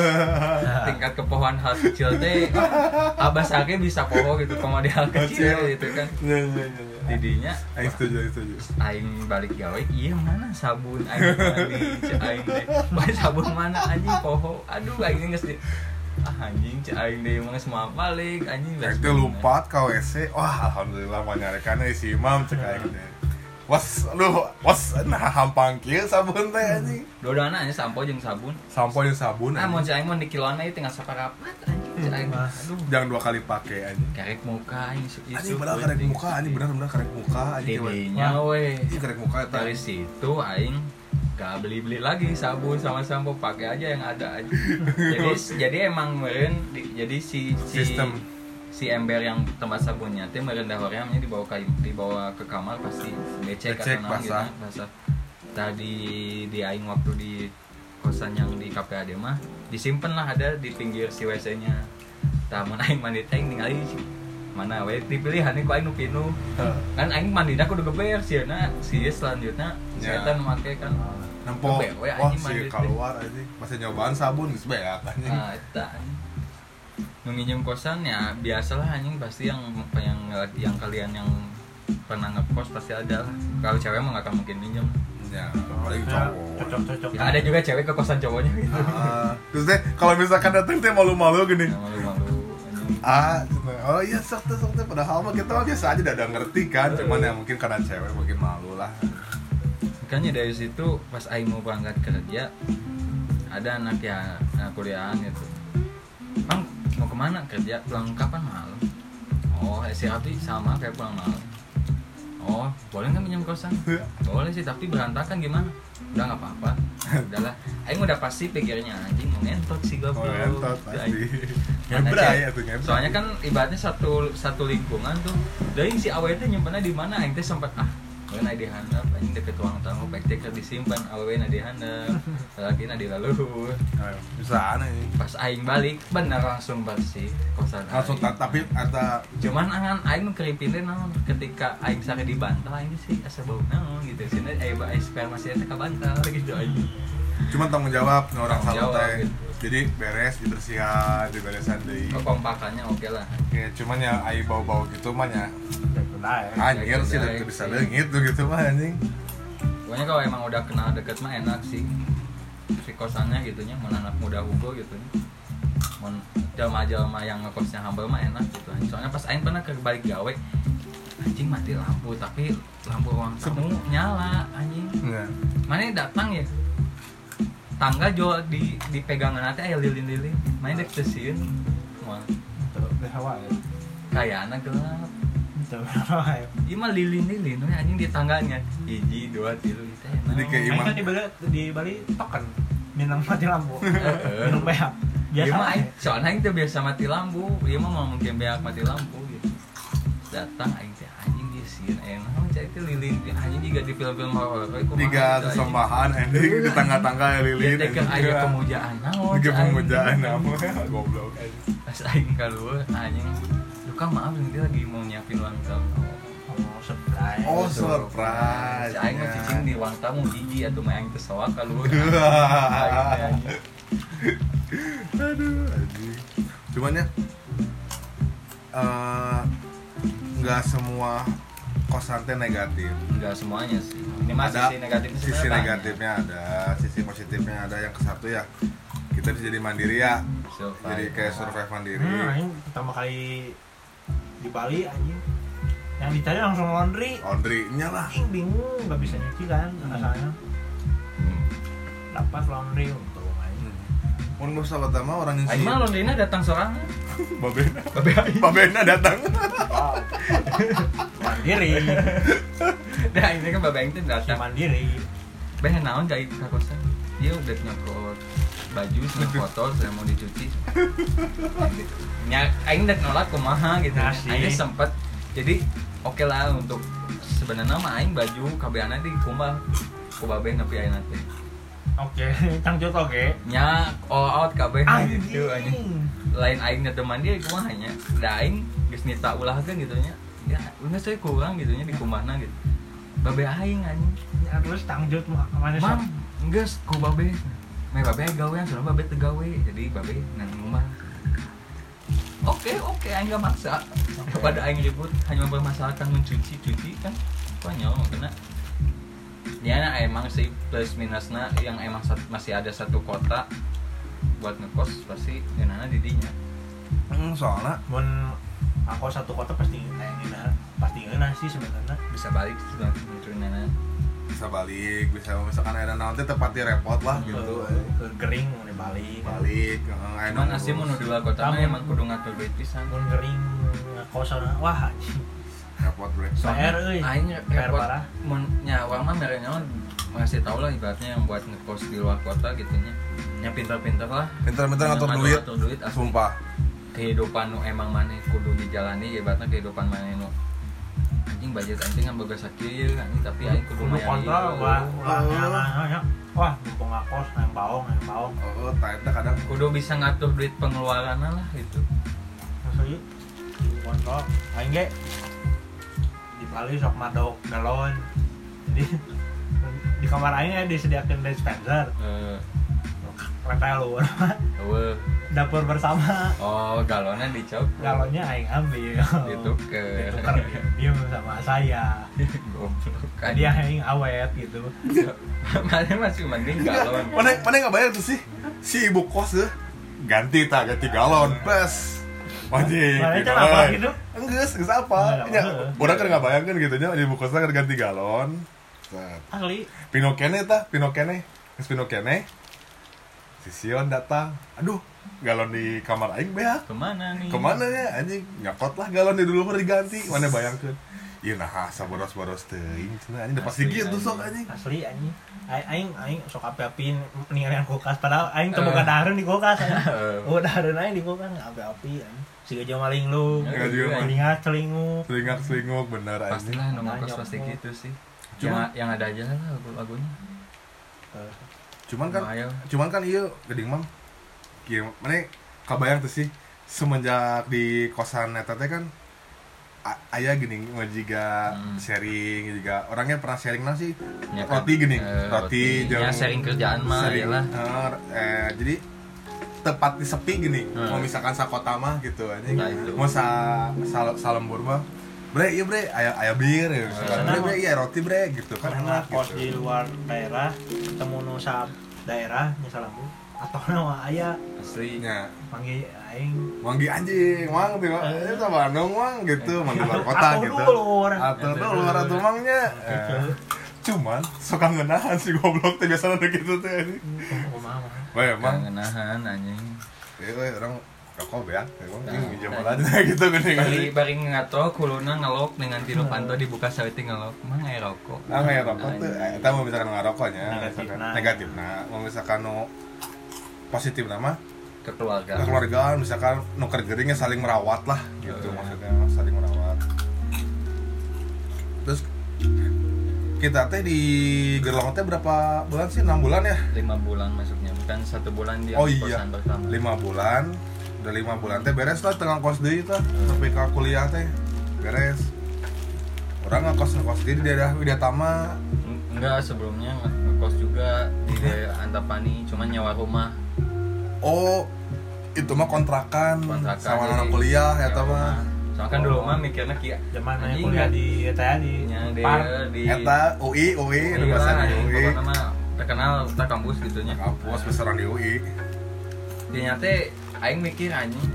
Tingkat kepohoan hal kecil teh abah sake bisa poho gitu pama di hal kecil gitu kan.
Iya iya iya, iya.
Jadinya
Aing setuju, aing setuju.
aing balik gawe iya mana sabun aing mandi cek aing teh. Poe sabun mana anjing poho. Aduh aing geus di- ah anjing cek aing deh emang semua balik anjing
Aing teh lupa KWC. Wah, alhamdulillah manyarekan euy si Imam cek aing teh. Was, aduh, was, nah hampang kieu sabun teh anjing.
Dodana anjing sampo jeung sabun.
Sampo jeung sabun
Hmm. Ah mau
anjing.
cek aing mau di kiloan aja tinggal saparapat anjing cek aing.
Mas.
Aduh
Jangan dua kali pakai anjing.
karek muka isu isu
Anjing padahal karek muka, anjing benar-benar karek muka anjing. cewek.
nya we
Ih, karek muka ya, eta.
dari situ aing gak beli beli lagi sabun sama sampo pakai aja yang ada aja jadi jadi emang meren di- jadi si, si
Sistem.
si ember yang tempat sabunnya teh merendah horeamnya dibawa ke dibawa ke kamar pasti becek
Becek,
naon gitu,
basah.
basah tadi di aing waktu di kosan yang di KPAD mah disimpen lah ada di pinggir si WC nya taman aing mandi teh aing ningali si- mana we dipilihannya ku aing nu pinu kan aing mandi aku udah geber sih na si ieu selanjutnya
Ya.
setan make kan
Nempo,
Gebewe, Oh, ya, anjing,
wah si
mandi.
keluar aja Masih nyobaan sabun, geus beak anjing
Nah, Ah, eta anjing. Nu nginjem kosan ya biasalah anjing pasti yang yang yang kalian yang pernah ngekos pasti ada lah. Kalau cewek mah nggak akan mungkin minjem.
Ya,
Soalnya
paling cowok
cocok-cocok
Ya, ada juga cewek ke kosan cowoknya gitu.
Ah, Terus deh, kalau misalkan datang teh malu-malu gini
Nah, malu-malu. anjing.
Ah, cuma, oh iya sok teh sok teh padahal mah kita mah biasa aja udah ngerti kan, cuman ya mungkin karena cewek mungkin malu lah.
Makanya dari situ pas Aing mau berangkat kerja ada anak ya anak kuliahan gitu. Bang mau kemana kerja? Pulang kapan malam? Oh eh, si Rafi sama kayak pulang malam. Oh boleh nggak minjem kosan? boleh sih tapi berantakan gimana udah nggak apa-apa udahlah Aing udah pasti pikirnya anjing mau ngentot sih gue
Oh, entot pasti. Ngebrai
Ngebrai
atuh ngebrai.
Soalnya kan ibaratnya satu satu lingkungan tuh. Dari si awet teh nyimpannya di mana? Aing teh sempat ah, kalian ada handap, anjing deket ruang tamu, baik teh keur disimpan, awewe na di handap, lagi na di laluhur.
Ayo, Eh, bisa aneh ini.
Pas aing balik, bener langsung bersih kosan.
Langsung
aing.
tak tapi ada
Cuman angan aing keripinnya naon ketika aing sare di bantal aing sih asa bau naon gitu. Sini aing aing sperma sih teh ka bantal gitu aing.
cuman tanggung jawab nu orang
Tanggung
salah
jawab,
teh.
gitu. Oh.
Jadi beres, dibersihan, diberesan deui.
Kekompakannya oke lah.
Ya, cuman ya ai bau-bau gitu mah ya.
Itu dah ya.
Anjir sih udah bisa leungit tuh gitu mah anjing.
Pokoknya kalau emang udah kenal deket mah enak sih si kosannya gitunya mau anak muda Hugo gitu mau jelma-jelma yang ngekosnya humble mah enak gitu soalnya pas Aing pernah ke balik gawe anjing mati lampu tapi lampu ruang tamu nyala anjing
Nah,
mana datang ya tangga jual di di pegangan nanti aya lilin-lilin mana dek tesin mau
Itu udah hawa ya.
kayak anak gelap
Itu udah hawa ya.
Ieu mah lilin-lilin we anjing di tangganya hiji dua tilu gitu
Jadi kayak-
Aing
Imah.
kan di Bali di Bali token minang mati lampu.
Heeh.
Minum PH.
Biasa
Biasa
iya mah
aja.
aing, soalnya aing teh biasa mati lampu, dia mah mau mungkin beak mati lampu gitu. Datang aing teh anjing di eh, sieun aya naon cai teh lilin anjing juga di film-film horor we kumaha
tiga
gitu, anjing.
sesembahan anjing di tangga-tangga ya,
Dia
lilin.
teh keur aya pemujaan nah, naon.
Tiga
cai aing.
pemujaan nah, namun goblok anjing.
Pas aing kaluar anjing. Duh Kang, maaf ini lagi mau nyiapin ulang tahun.
Oh, sebelah.
Oh,
Gitu.
surprise.
Si aing mah cicing di ulang tamu hiji atuh mah aing teh soak kaluar. Aing teh, anjing.
Aduh, anjing. Cuman ya eh, nggak semua kosan teh negatif.
Enggak semuanya sih. Ini mah
Ada
sisi negatifnya
Sisi
sebenarnya banyak.
negatifnya ada, sisi positifnya ada. Yang kesatu ya kita bisa jadi mandiri ya.
Survive.
Jadi kayak survive mandiri.
Hmm, aing pertama kali di Bali anjing. Yang dicari langsung laundry.
Laundry-nya lah.
Aing bingung nggak bisa nyuci kan asalnya.
Hmm.
Dapat laundry untuk aing.
Hmm. Mun bos sahabat sama orang yang
Aing mah Londrina datang sorangan.
Babena.
Babe aing.
Babena datang.
Mandiri.
Dah ini kan babe aing teh
Si
datang.
mandiri.
Beh naon cai ka kosan. Dia udah nyokot baju sama kotor saya mau dicuci. Nya aing udah nolak kumaha gitu.
Nasi.
Aing sempat jadi oke lah untuk sebenarnya mah aing baju kabeana di kumbah ku babe nepi aing nanti.
Oke, cangcut oke.
Nya all out kabeh gitu anjing.
Anjing.
lain aing teman dia kumaha nya da aing geus nita ulah kan gitu nya ya udah saya kurang gitu nya di kumahna gitu babe aing anjing
Ya, Terus cangcut mah mana
mam geus ku babe me babe gawean soalnya babe teu gawe jadi babe nang ngumah oke oke aing gak maksa kepada aing ribut hanya mempermasalahkan mencuci cuci kan konyol kena ya nah, emang sih plus minusnya yang emang sat- masih ada satu kota buat ngekos pasti ya ngeunana di dinya
Hmm, soalnya
Mun aku satu kota pasti ngingin pasti ngingin sih sebenarnya.
bisa balik sebenarnya turunannya
bisa balik bisa misalkan ada nanti tepatnya repot lah gitu
eh, Ke Gering mun di Bali.
balik eh, ayo
cuman
ngurus.
asli mau dua kota mah
Kamu-
emang kudu ngatur duit pisan
Mun Gering kosan wah anjing.
repot bre
PR euy.
aing
PR
repot
parah.
mun nyawa mah mere nyawa ngasih tau lah ibaratnya yang buat ngekos di luar kota gitu nya ya pintar-pintar lah
bentar-bentar ngatur
Yang
duit
ngatur duit asli
sumpah
kehidupan nu emang mana kudu dijalani ibaratnya kehidupan mana nu anjing budget anjing kan boga sakit anjing tapi aing kudu
kudu
mayar
kontrol
ieu.
wah ulah nyalah nya. wah gitu, mumpung ngakos nang baong nang baong
oh ternyata kadang
kudu bisa ngatur duit pengeluaran lah gitu
maksudnya kudu kontrol aing ge di Bali sok madok galon jadi di kamar aing aya disediakeun dispenser
Eh,
rempel luar
eueuh.
dapur bersama
oh galonnya dicop
galonnya aing ambil
Ditukar.
ditukar dia sama saya
goblok kan
dia aing awet gitu
mana masih mending galon
mana mana nggak bayar tuh sih si ibu kos tuh ganti tak ganti galon plus wajib
Mana
gitu,
kan apa
woy.
gitu?
Enggeus, enggeus apa
Nah,
ya,
heeh.
orang kan nggak bayangkan gitu nya ibu kosnya kan ganti galon Nah, Set.
asli
pinokene tah pinokene Geus pinokene si Sion datang aduh galon di kamar aing beak
kemana nih
kemana ya anjing nyokot lah galon di dulu mah diganti mana bayangkan iya nah saboros boros teuing cenah anjing udah pasti
Asli,
gitu sok
anjing.
anjing
asli anjing aing aing aing sok api-apiin ninggalin kulkas padahal aing teu
Eh.
boga dahareun di kulkas anjing.
Eh,
Oh, dahareun aing di kulkas nggak api-api anjing. Si gajah maling lu,
Ya,
juga,
anjing.
telinga celinguk.
selingak selinguk bener anjing
pastilah nongkrong
Nanya,
kos pasti
Mo.
gitu sih
Cuma-
yang, yang ada aja lah lagu- lagunya
Eh,
cuman kan
Ayo.
cuman kan iya geding mang kieu mana kabayang tuh sih semenjak di kosan eta teh kan a- aya gini juga
Hmm.
sharing juga orangnya pernah sharing nah sih
Ya,
roti gini
eh,
roti,
ya
jeung-
sharing kerjaan mah
Sering.
iyalah
Eh, eh, jadi tepat di sepi gini
Hmm.
mau misalkan sakota mah gitu anjing
Nah, itu.
mau sa sal, salembur mah bre iya bre aya aya bir
Hmm.
ya misalkan.
Enak,
bre bre
mah.
iya roti bre gitu kan enak
karena kos di
gitu
luar daerah temu nusa daerah misalnya bu atau nama ayah
asli
Ya,
panggil aing
manggi anjing, mang tiba
Eh.
ini sama Bandung mang gitu, mang di luar kota
Atuh
gitu.
dulu orang.
Atur tuh luar atuh mangnya. Eh, Cuman suka ngenahan si goblok teh biasanya udah gitu teh anjing.
Oh, mama.
Wah, emang
kangenahan anjing
ya weh, orang rokok ya, emang
Nah.
ini jamal aja gitu gini.
bari bari ngatro kuluna ngelok dengan Tino Panto dibuka salting ngelok mah ngai rokok
Ah nggak rokok tuh, eh, kita mau misalkan nggak rokoknya,
Negatif,
misalkan-
nah.
negatif nah, mau misalkan nu positif nama,
ke keluarga
keluargaan misalkan nuker geringnya saling merawat lah
Heeh.
gitu maksudnya saling merawat. Terus kita teh di Gerlong teh berapa bulan sih? 6 bulan ya?
lima bulan masuknya bukan satu bulan dia
Oh
di
iya.
kosan bersama
5 bulan. Udah 5 bulan teh beres lah tengah kos deui teh
Hmm.
sampai ke kuliah teh beres. Orang ngekos ngekos deui di daerah Widyatama.
Eng- enggak sebelumnya nge- ngekos juga di daerah Antapani cuman nyawa rumah
Oh, itu mah kontrakan,
kontrakan
sama
jadi
anak kuliah ya
nyewa
tah mah.
rumah. soalnya kan dulu mah mikirnya kia
Zaman aing
Anjing,
kuliah
nggak-
di eta di
nya dia
Park.
di
Eta UI, UI,
Iya,
nu bahasana
anjing,
UI.
pokoknya mah terkenal tak kampus gitunya
Kampus besaran di UI.
Di nyate aing mikir anjing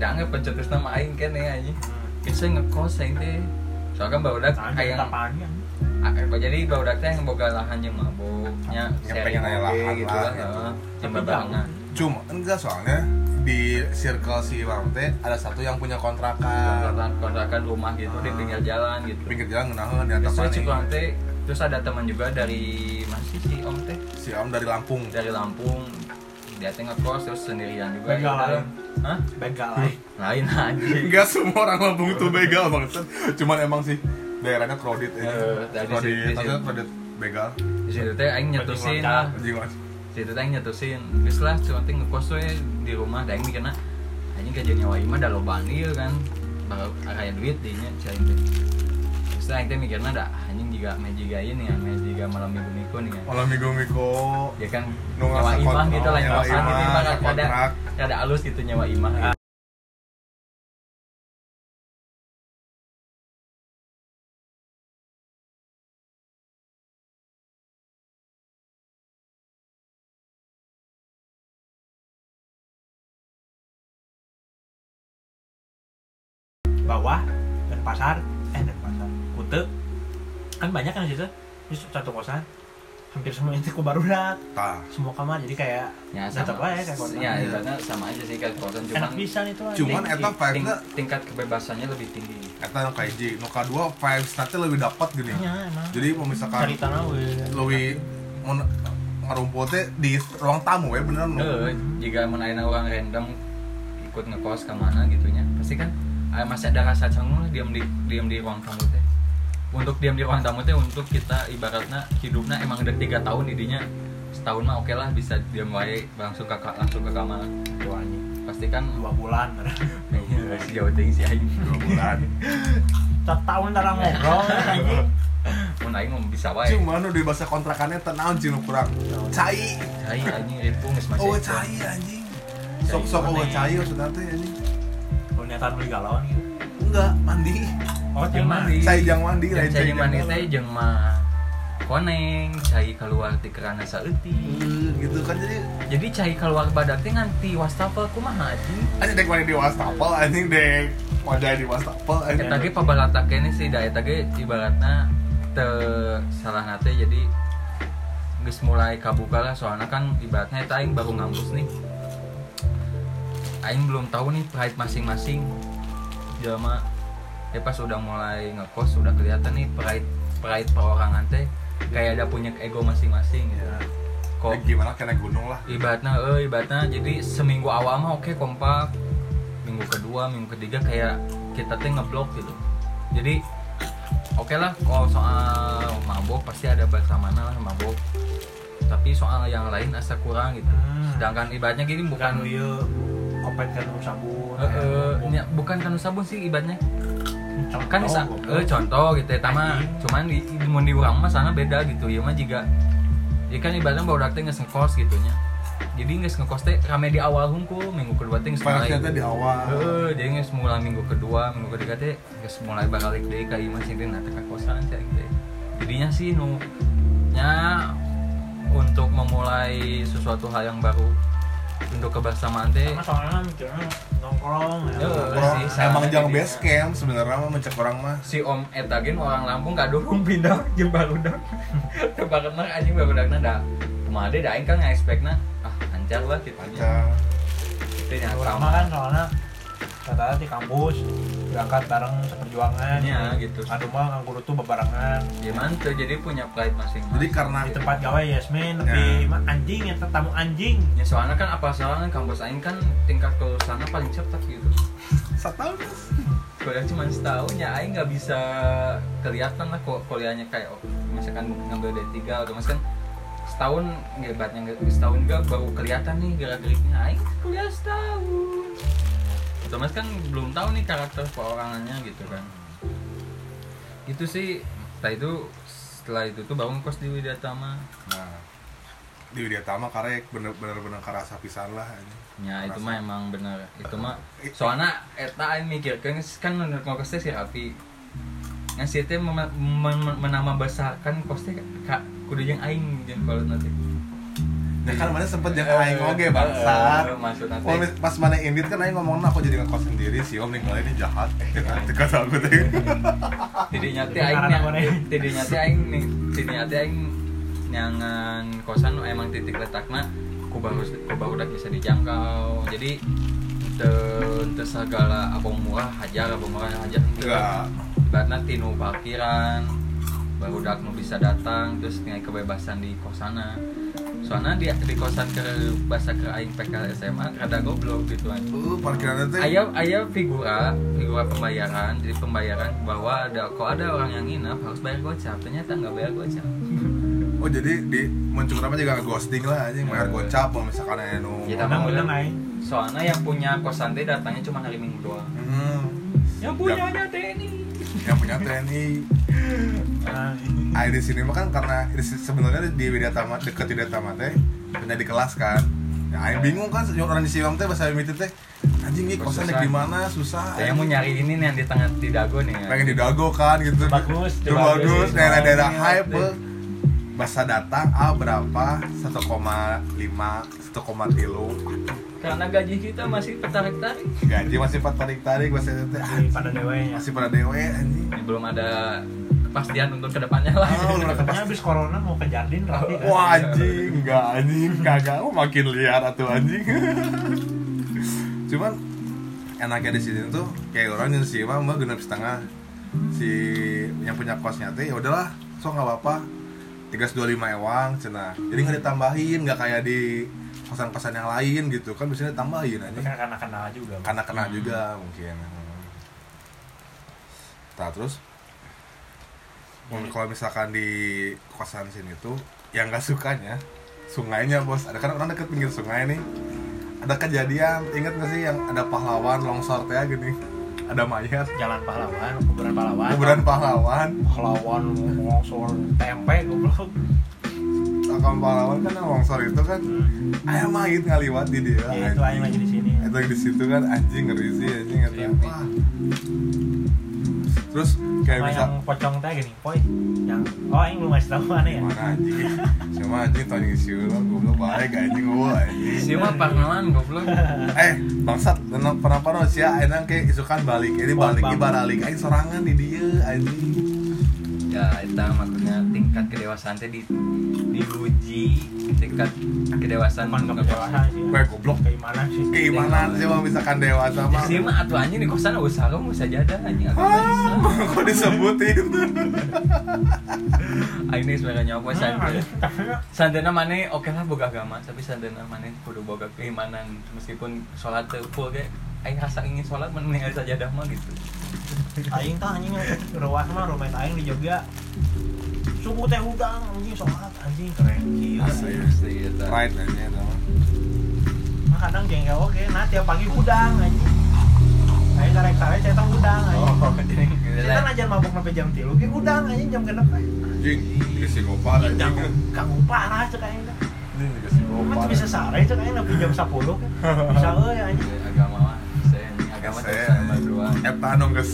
da anggap pencetus nama aing kene anjing bisa ngekos aing teh soalnya baru dak
Nah,
kayak Ah, eh,
tapani, anjing.
jadi baru dak teh yang boga lahan yang mabuknya
Yang pengen aya lahan
gitu
lah,
lah
gitu.
heeh. yang
Tapi
barengan
jauh.
Cuma enggak soalnya di circle si Imam teh ada satu yang punya kontrakan
kontrakan kontrakan rumah gitu di pinggir jalan gitu
pinggir jalan ngenaheun di
terus
atas
saya
panik.
cukup teh terus ada teman juga dari masih si om teh
Si Om dari Lampung.
dari Lampung dia teh ngekos terus sendirian juga
Begal
Gitu.
lain.
Hah?
begal aing.
lain anjing
Enggak semua orang Lampung itu begal banget. Cuman emang sih daerahnya ya. crowded ini.
Eh, dari
Crowded,
situ-
tapi crowded begal.
di situ teh aing nyetusin
Bajingan.
lah
Anjing banget.
di situ teh aing nyetusin geus lah cuma teh ngekos we di rumah da aing mikirna anjing kerja nyawa imah da lobaan ieu kan bakal aya duit di nya cai teh terus teh aing teh mikirna da "Nah, anjing juga mejiga ini ya mejiga malam minggu minggu nih kan
Malam minggu minggu
ya kan
Nu
nyawa
ngasa
imah
Oh, kontrak,
gitu lah
nyawa
nyawa imah
imah,
gitu ibarat
kontrak. Ah,
ada ada alus gitu nyawa imah gitu.
bawah dan pasar eh dan pasar kute kan banyak kan di situ Terus satu kosan hampir semuanya itu kubarudak
Tah.
semua kamar jadi kayak
ya
tetap
sama
aja kayak kosan
ya ibaratnya sama aja sih kayak kosan cuman
enak pisan itu aja.
iya. Cuman
ting-
eta
ting-
vibe-nya-
tingkat kebebasannya lebih tinggi
Eta nu kaiji, nu kadua vibes nanti lebih dapat gini.
ya
Iya.
emang
Jadi mau misalkan
cerita nawe
lebih ngerumputnya di ruang tamu ya bener nu.
Eh, jika menaikkan orang random ikut ngekos ke mana gitunya pasti kan eh, masih ada rasa canggung lah diam di diam di ruang tamu teh untuk diam di ruang tamu teh untuk kita ibaratnya hidupnya emang udah tiga tahun didinya setahun mah oke lah bisa diam wae langsung ke ka- langsung ke kamar
itu anjing
pasti kan
dua bulan
jauh ting sih aing
dua bulan
setahun tara ngobrol anjing
mun aing mah bisa wae
cuma nu di bahasa kontrakannya tenang cina kurang cai
cai anjing ribu geus masih
oh cai anjing sok sok oh cai
ya?
maksudnya teh anjing
Lu niatan beli galon gitu
enggak mandi
oh
Jeung mandi.
cai jang mandi
Jeung
lain
cai jeung mandi teh jeung mah koneng cai keluar ti kerana saeutik
Eh, gitu kan jadi
jadi cai keluar badak teh nganti wastafel kumaha anjing
anjing dek mandi di wastafel anjing dek wadai di wastafel anjing
eta ge pabalata Ya, kene sih da eta ge ibaratna te salah nate jadi geus mulai kabuka lah soalnya kan ibaratnya eta aing baru ngampus nih aing belum tahu nih pride masing-masing jelema ya pas udah mulai ngekos udah kelihatan nih pride pride perorangan teh kayak ada punya ego masing-masing gitu.
Ya.
kok
Ya, gimana kena gunung lah
ibaratnya eh ibaratnya jadi seminggu awal mah oke kompak minggu kedua minggu ketiga kayak kita teh ngeblok gitu jadi oke lah kalau soal mabok pasti ada bahasa mana lah mabok tapi soal yang lain asa kurang gitu
Hmm.
sedangkan ibaratnya gini
bukan
bukan
lu
eh,
ieu kopet kan lu sabun
eh, nya, bukan kan sabun sih ibaratnya kan
Contoh,
sa-
goblok.
eh, contoh gitu ya tama
Anjing.
cuman di di- mun di urang mah sana beda gitu ya mah juga ya kan ibaratnya baru teh geus ngekos gitu nya jadi geus ngekos teh rame di awal hungkul minggu kedua teh geus mulai Eh,
panasnya teh di awal
Heeh, jadi geus mulai minggu kedua minggu ketiga teh geus mulai balik deui ka ieu mah sih teh ka kosan cing teh jadinya sih nu nya untuk memulai sesuatu hal yang baru untuk kebersamaan teh
Sama soalnya mikirnya nongkrong ya.
Heeh.
Orang-
Eh, sih,
emang
salah
jang
jadinya.
base camp sebenarnya mah mencek orang mah
si om etagen orang Lampung gak dukung pindah jeung barudak. Teu barenah anjing barudakna da. Kumaha deh da aing kan ngaexpectna ah ancar lah gitu nya.
Aca.
Teu nya
Ya,
Sama
sama
kan soalnya kata di kampus berangkat bareng seperjuangan.
Iya, gitu.
Aduh mah nganggur tuh bebarengan.
Gimana tuh jadi punya pride
jadi
masing-masing.
karena
Di tempat gawe Yasmin
Ya.
lebih mah anjing ya tamu anjing.
Ya soalnya kan apa salah kan kampus aing kan tingkat kelulusannya paling cepat gitu.
setahun
Kuliah cuma setahun ya aing nggak bisa kelihatan lah kok kuliahnya kayak oh, misalkan ngambil D3 otomatis kan setahun hebatnya setahun gak baru kelihatan nih gerak-geriknya aing kuliah setahun Thomas kan belum tahu nih karakter perorangannya gitu kan itu sih setelah itu setelah itu tuh baru ngekos di Widyatama
nah di Widya Tama karek bener-bener bener kerasa pisan lah anjing.
ya itu mah
Kerasa.
emang bener itu mah soalnya eta aing mikirkeun kan menurut ngekos teh si Rapi ngasih teh mem- mem- menambah besarkan kos teh kak kudu jeung aing jeung kalau nanti
Ya kan mana sempet yang aing oge bangsat.
Eh, maksud nanti
Wah, pas mana indit kan aing ngomong aku jadi ngekos sendiri sih om ninggalin ini jahat. Eh, kata aku teh.
tidinya teh
Jadi
aing
anak
nyang-
mana ya?
tidinya teh aing nih tidinya teh aing nyangan kosan nu emang titik letakna ku baru ku baru udah bisa dijangkau jadi te, te segala abang murah hajar abang murah hajar
Enggak.
ibaratnya tinu parkiran baru udah nu bisa datang terus ngai kebebasan di kosana soalnya di, di kosan ke bahasa ke aing PKL SMA rada goblok gitu anjing
Uh, parkiran teh.
ayah ayah figura figura pembayaran jadi pembayaran bahwa ada kalau ada orang yang nginep harus bayar gocap ternyata nggak bayar gocap
Oh, jadi di muncul apa juga ghosting lah anjing,
Eh.
bayar gocap kalau misalkan aya nu.
Iya,
Kadang
Tamu
udah
udah.
naik.
soalnya yang punya kosan teh datangnya cuma hari minggu doang
Hmm.
yang punyanya teh ini
Yang punya TNI
Nah,
Ayo di sini mah kan karena di- sebenarnya di Widya Tama deket Widya Tama teh punya di kelas kan. Ya, Aing bingung kan orang di Siwam teh bahasa Mimiti teh anjing nih kosan
Susah.
di mana susah.
saya mau nyari ini nih yang di tengah di dago nih ya.
pengen didago kan gitu
Bagus,
Tuh
bagus.
bagus daerah-daerah
Bagus.
hype beuh. masa datang ah berapa 1,5 1,3
karena gaji kita masih tertarik tarik
gaji masih empat tarik tarik masih teh
di pada ya. dewenya.
masih pada dewe anjing
belum ada kepastian untuk kedepannya lah
Ah, udah
Katanya
kepas-
habis corona mau ke Jardin rapi kan.
wah anjing enggak anjing kagak oh makin liar atuh anjing cuman enaknya di sini tuh kayak orang yang sih mah mah genap setengah si yang punya kosnya teh ya udahlah so nggak apa-apa 325 ewang cina jadi nggak ditambahin nggak kayak di kosan-kosan yang lain gitu kan biasanya tambahin
Tapi
aja
kan karena kenal juga Bang.
karena kena
Hmm.
juga mungkin Hmm. nah terus mun- kalau misalkan di kosan sini tuh yang gak sukanya sungainya bos ada kan orang deket pinggir sungai nih ada kejadian inget gak sih yang ada pahlawan longsor teh gini ada mayat
jalan pahlawan kuburan pahlawan
kuburan pahlawan
pahlawan longsor tempe goblok
Akam pahlawan kan yang longsor itu kan ayam mayit ngaliwat di dia
ya itu aing lagi di sini
Iya, itu di situ kan anjing ngeri sih anjing kata
Creepy.
wah terus kayak
Sama
bisa
Nah, yang pocong teh gini poi yang oh aing belum ngasih tahu mana ya
mana anjing siapa anjing tau yang siu lah gue belum baik anjing gue anjing
Si mah parnoan goblok.
eh bangsat tenang pernah pernah sih ya enak kayak isukan balik ini
Wah,
balik
bang.
ini balik anjing sorangan di dia anjing
Ya itu maksudnya tingkat kedewasaan teh di diuji tingkat kedewasaan
bukan kebiasaan sih
gue goblok
keimanan sih
Iya. keimanan sih mah misalkan dewasa mah
Si mah atuh anjing di kosan usaha kamu sajadah anjing agama Islam.
Ah, kok disebutin
Aing geus mere
Ah.
nyawa santai.
Nah,
Santana mana oke lah boga agama, tapi santana mana kudu boga keimanan meskipun sholat teu full ge aing rasa ingin sholat mun ningali sajadah mah gitu.
aing tah anjing ruas mah rumah aing di Jogja suku teh udang anjing sholat anjing keren
Ah,
gila
Asli.
Asli eta.
right anjing itu mah.
Nah, kadang jengkel oke nah tiap pagi udang anjing aing karek-karek saya tah udang anjing
Oh, jadi
kita najan mabok sampai jam 3 ge udang anjing jam genep we
anjing ini si gopal
udang
anjing
kanggo parah cek aing teh
ini juga si
Cuma
gopal
bisa sare cek aing nepi jam 10 kan bisa euy anjing
Iya, agama mah saya ini agama teh
saya
nomor dua.
eta anu geus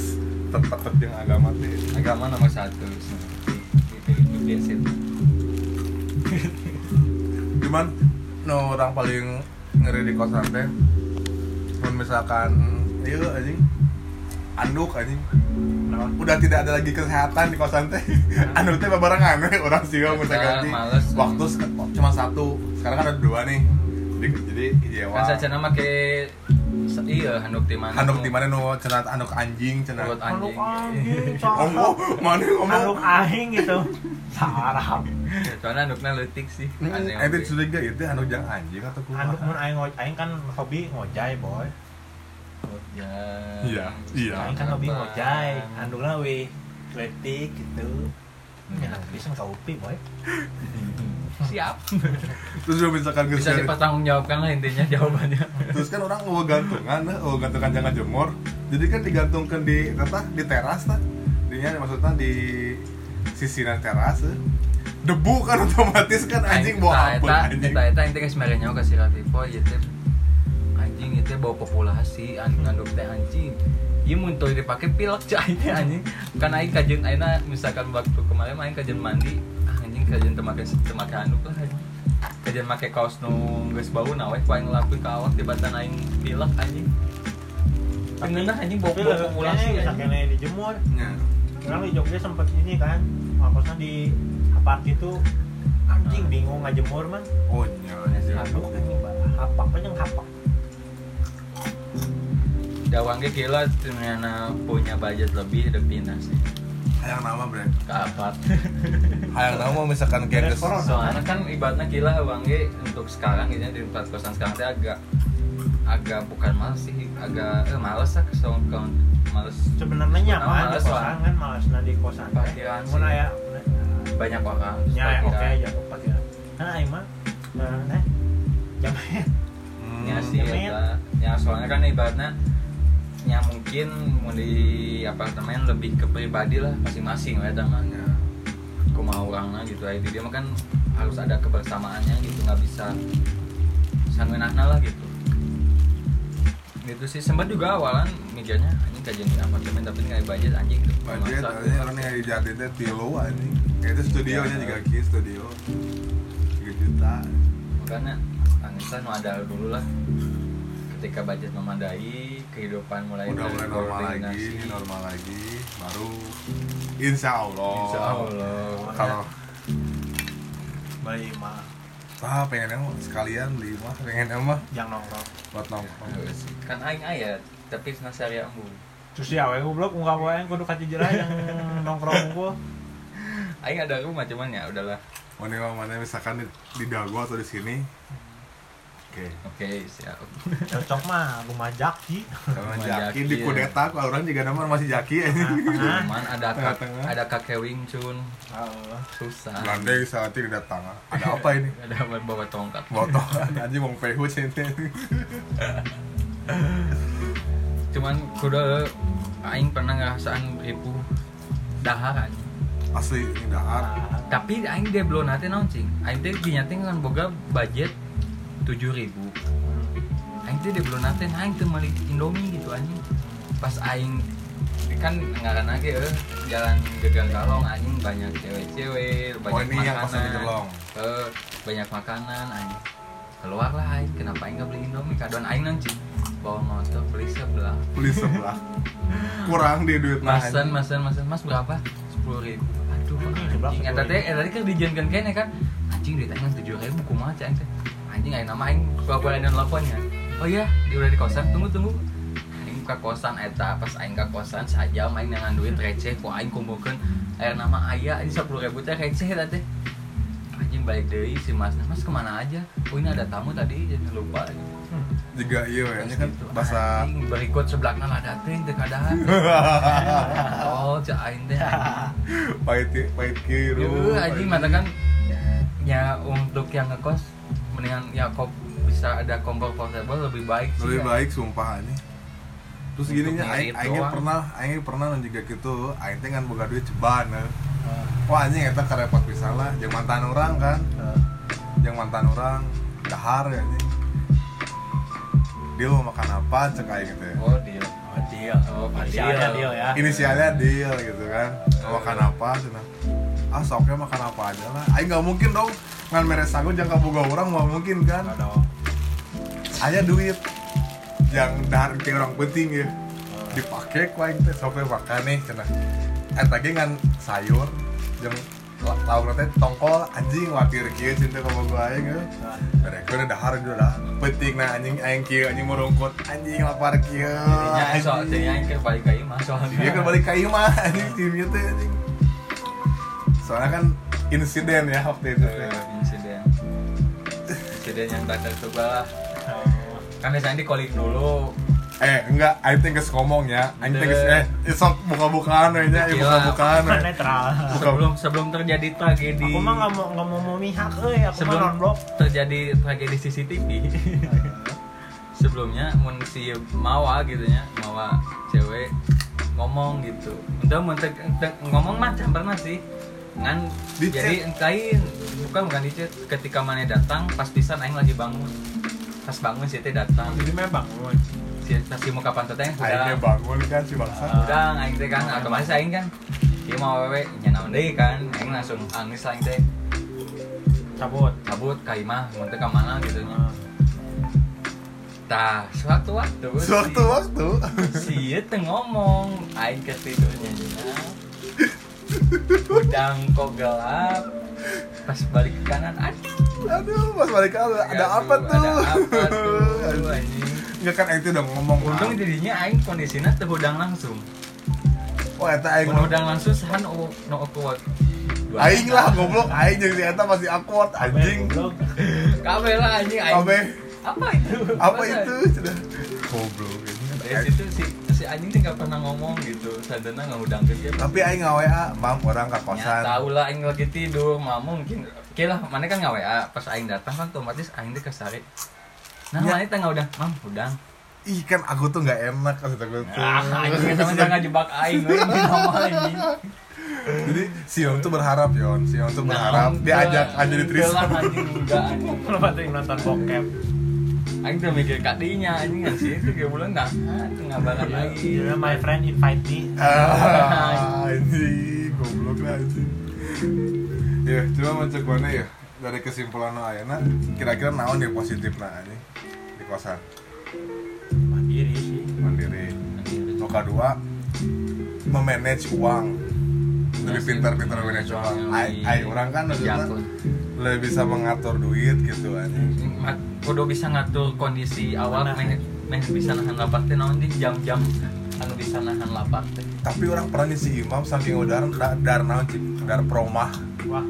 tetep jeung agama teh
Agama nomor satu. Gitu, Dipilih di situ.
cuman no orang paling ngeri di kosan teh mun misalkan iya anjing anduk anjing
Nah,
udah tidak ada lagi kesehatan di kosan teh anduk teh barengan we orang sih mau
Kita
ganti
males.
waktu se- cuma satu sekarang kan ada dua nih Di- jadi ijewa
Kan saja nama ke iya handuk di mana?
anduk di mana no cenat anduk anjing cenat
Mulut
Anjing,
anjing.
anjing,
ngomong mana
cakep. Manuk
ngomong
aing gitu. Sarap.
Iya, Soalnya handuknya leutik sih. Aneh.
Eh, itu curiga itu anduk yang anjing atau
Manuk mun
kumaha?
aing ngo- aing kan hobi ngojay, boy.
Ya.
Iya, iya.
Aing kan hobi ngojay. Andukna we letik gitu. Enak pisan ka upi, boy.
Siap.
Terus kalau misalkan geus
Bisa
cari-
dipertanggungjawabkan lah intinya jawabannya.
terus kan orang mau gantungan nah, mau gantungan jangan jemur jadi kan digantungkan di kata di teras lah dinya maksudnya di sisiran teras eh. debu kan otomatis kan anjing bawa ampun anjing
Eta eta aing teh geus mere nyawa ka si Latipo ieu teh Oh, iya, anjing ieu teh bawa populasi an ngandung teh anjing. Ieu mun teu dipake pilek cai teh anjing. Kan aing kajeun ayeuna misalkan waktu kemarin aing kajeun mandi, ah, anjing kajeun teu make teu make handuk lah anjing. Kajeun make kaos nu geus bau na we ku aing lapi ka awak di batan aing pilek anjing. Pengenah anjing bawa bawa populasi
Kayaknya bisa
anjing.
kena dijemur.
Ya.
Orang di Jogja sempet ini kan, ngakosnya di apart itu anjing bingung ngajemur man.
oh iya iya.
Aduh, anjing hapak aja hapak.
Dawang ge gila ternyata punya budget lebih lebih nah, nasi.
hayang nama bre
Keapat.
hayang nama misalkan kayak geus-
Restoran.
soalnya kan ibaratnya gila Bang Ge untuk sekarang ini di tempat kosan sekarang teh agak agak bukan males sih agak eh, males lah ke sound count males
Sebenarnya nyaman di
males
kosan kan, malas nah di kosan.
Parkiran
Mun
sih.
aya
banyak orang
Ya,
seperti
oke
kan.
aja ke parkiran. Nah, aing mah eh jamet.
Hmm.
ya sih
Jamet.
eta. ya soalnya kan ibaratnya ya mungkin mau di apartemen lebih ke pribadi lah masing-masing kan, lah eta mah
Ya.
kumaha orangnya gitu ya dia mah kan harus ada kebersamaannya gitu nggak bisa sangenahna lah gitu gitu sih sempat juga awalan mikirnya anjing kajian di apartemen tapi nggak ada budget anjing gitu
budget anjing orang yang di Jati teh tilu anjing kayak itu studionya juga ki studio 3 juta
makanya Anissa nu ada dulu lah ketika budget memadai kehidupan mulai
udah mulai normal lagi
berkoordinasi.
normal lagi baru insya Allah
Insya Allah
kalau
Beli mah
ah pengennya mah sekalian beli mah pengennya mah
jang nongkrong.
buat nongkrong
Terus, kan aing aya tapi nasari ambu
Terus ya we goblok ungkap wae aing kudu kaci jera yang nongkrong unggul.
aing ada rumah cuman ya udahlah
mana mana misalkan di, di Dago atau di sini Oke.
oke siap
cocok mah lumajak sih
Sama
Sama
Jaki,
Jaki di
ya.
kudeta ku orang juga nama ya. masih Jaki anjing.
tengah
cuman ada kak-
Tengah-tengah.
ada kakek Wing Chun
Eh,
susah
Landai saat ini datang. Ada apa ini?
ada yang bawa tongkat
Botolan anjing wong pehu cinta.
cuman kuda aing pernah ngerasaan ribu dahar anjing.
Asli ini dahar.
Nah.
tapi aing dia belum nanti cing aing teh dinyatin kan boga budget tujuh ribu aing teh dia belum nanti aing teh meli indomie gitu anjing pas aing ini kan ngaran lagi eh jalan gegang kalong anjing banyak cewek-cewek banyak
Oh ini
makanan
yang pasang di jelong.
Eh, banyak makanan anjing keluar lah aing kenapa aing nggak beli indomie kadoan aing nanti bawa motor beli sebelah
Beli sebelah. Kurang di duit mah,
Masan,
anjing.
masan, masan, mas berapa? Sepuluh ribu. Aduh,
Berapa?
anjing. Eta teh, eh tadi kan dijanjikan kene kan, anjing duit aing tujuh ribu, kumaha cah aing teh. Anjing aing nama aing kabaran dan teleponnya. Oh iya, di udah di kosan, tunggu tunggu. Aing ke kosan eta pas aing ke kosan saja main dengan duit receh, ku aing kumpulkeun aya nama aya ini sepuluh ribu teh receh eta teh. Anjing balik deui si Mas, Mas kemana aja? Oh ini ada tamu tadi, jangan lupa.
Hmm.
Juga iya ya, ini kan
Gitu.
bahasa
Anjing, berikut sebelaknya ada teh, teu kadaan. Oh, cah aing teh. anjing.
pahit pahit kiri.
Yuh, anjing mana kan ya untuk yang ngekos mendingan ya kok bisa ada kompor portable lebih baik sih.
lebih
ya.
baik sumpah anjing terus
Untuk
gini nya aing
ngirit
aing
doang.
pernah aing pernah nu juga gitu aing teh kan boga duit ceban
Ah.
eh. wah anjing eta karepot pisan lah jeung mantan orang kan
Nah.
jeung mantan orang dahar ya anjing dia mau makan apa cek aing gitu ya
Oh, deal. Oh, deal. Oh,
Inisialnya deal ya.
inisialnya dia gitu kan mau makan
Iya.
apa cina ah soknya makan apa aja lah aing nggak mungkin dong ngan meres aku jangan boga orang nggak mungkin kan
nggak dong
aya duit yang dahar ke orang penting ya dipakai ku aing teh sampai makan nih cenah eta ge ngan sayur jeung tahu teh tongkol anjing wakir kieu cinta ka gua aing ya mereka udah dahar juga lah penting nah anjing aing kieu anjing merungkut anjing lapar kieu
Jadinya aing soal
anjing.
jadinya aing keur balik ka imah soalnya.
dia kan balik ke imah anjing timnya teh anjing soalnya kan insiden ya waktu itu teh.
Eh, insiden. Insiden yang tak tercoba lah. Kan biasanya di calling dulu.
eh enggak aing teh geus ngomong ya aing teh geus eh sok buka-bukaan we nya eh,
Gila.
buka-bukaan we.
netral
Sebelum sebelum terjadi tragedi.
aku mah nggak mau nggak mau mau mihak eh aku mah non
sebelum
blok
terjadi tragedi CCTV sebelumnya mun si Mawa gitu nya Mawa cewek ngomong gitu udah mun teu- teu- ngomong mah jam pernah sih ngan
Di
jadi engkain bukan bukan di chat ketika mana datang pas pisan aing lagi bangun pas bangun si teh datang
jadi memang bangun
si si muka pantat aing
akhirnya
sudah
bangun kan si
Ah,
bangsa
udah aing teh kan otomatis aing kan dia mau wewe nyanaon deui kan aing langsung angis lah aing teh
cabut
cabut kaimah mun teu ka mana gitu
Nah.
nya Tah, suatu waktu
suatu waktu
si, si itu ngomong aing ke tidurnya nya. Udang kok gelap Pas balik ke kanan Aduh
aduh pas balik ada ada apa tuh
Ada apa tuh anjing.
nggak kan itu udah ngomong kan
Untung jadinya aing kondisinya teu udang langsung
oh eta aing
Mun udang langsung sahan o- no awkward Dua
aing
jam.
lah goblok aing jadi si eta masih awkward anjing
Goblok.
Kabeh lah anjing aing
abe
Apa itu?
apa
Masa-
itu sudah goblok
Dari
ini
situ si, si anjing teh nggak pernah ngomong gitu Sadana ngudang ke dia
tapi aing nggak wa mam orang ke
Ya,
kosan
tahu lah aing lagi tidur, mah mungkin. Oke lah, mana kan nggak WA, pas aing datang kan otomatis aing teh kesari. Nah,
Ya.
mana tengah udah, mam udang.
ih kan aku tuh nggak enak kata gue tuh
Ah, anjing teman jangan jebak aing, we ini ngomong anjing.
jadi si Yon tuh berharap Yon si Yon tuh berharap
Nah,
diajak
enggak,
aja di
enggak
threesome
lah, anjing enggak anjing.
lu pasti nonton bokep
Aing udah mikir kadinya anjing kan sih itu kayak bulan enggak. Ah, itu ngabaran lagi.
Judulnya Iya, my friend invite me
Ah, ini goblok lah anjing. Ya, cuma macam mana ya? Dari kesimpulan no ayeuna kira-kira naon yang positif nah ini di kosan
mandiri sih
mandiri. Nu kedua memanage uang lebih pintar-pintar manage uang. Ai- Ai orang kan maksudnya
Jakun.
lebih bisa mengatur duit gitu anjing.
Ma- kudu bisa ngatur kondisi awal
Nah.
meh meh bisa nahan lapar teh naon di jam-jam anu bisa nahan lapar teh
Tapi orang pernah nih si Imam saking udaran da- dar naon cik, dar promah
wah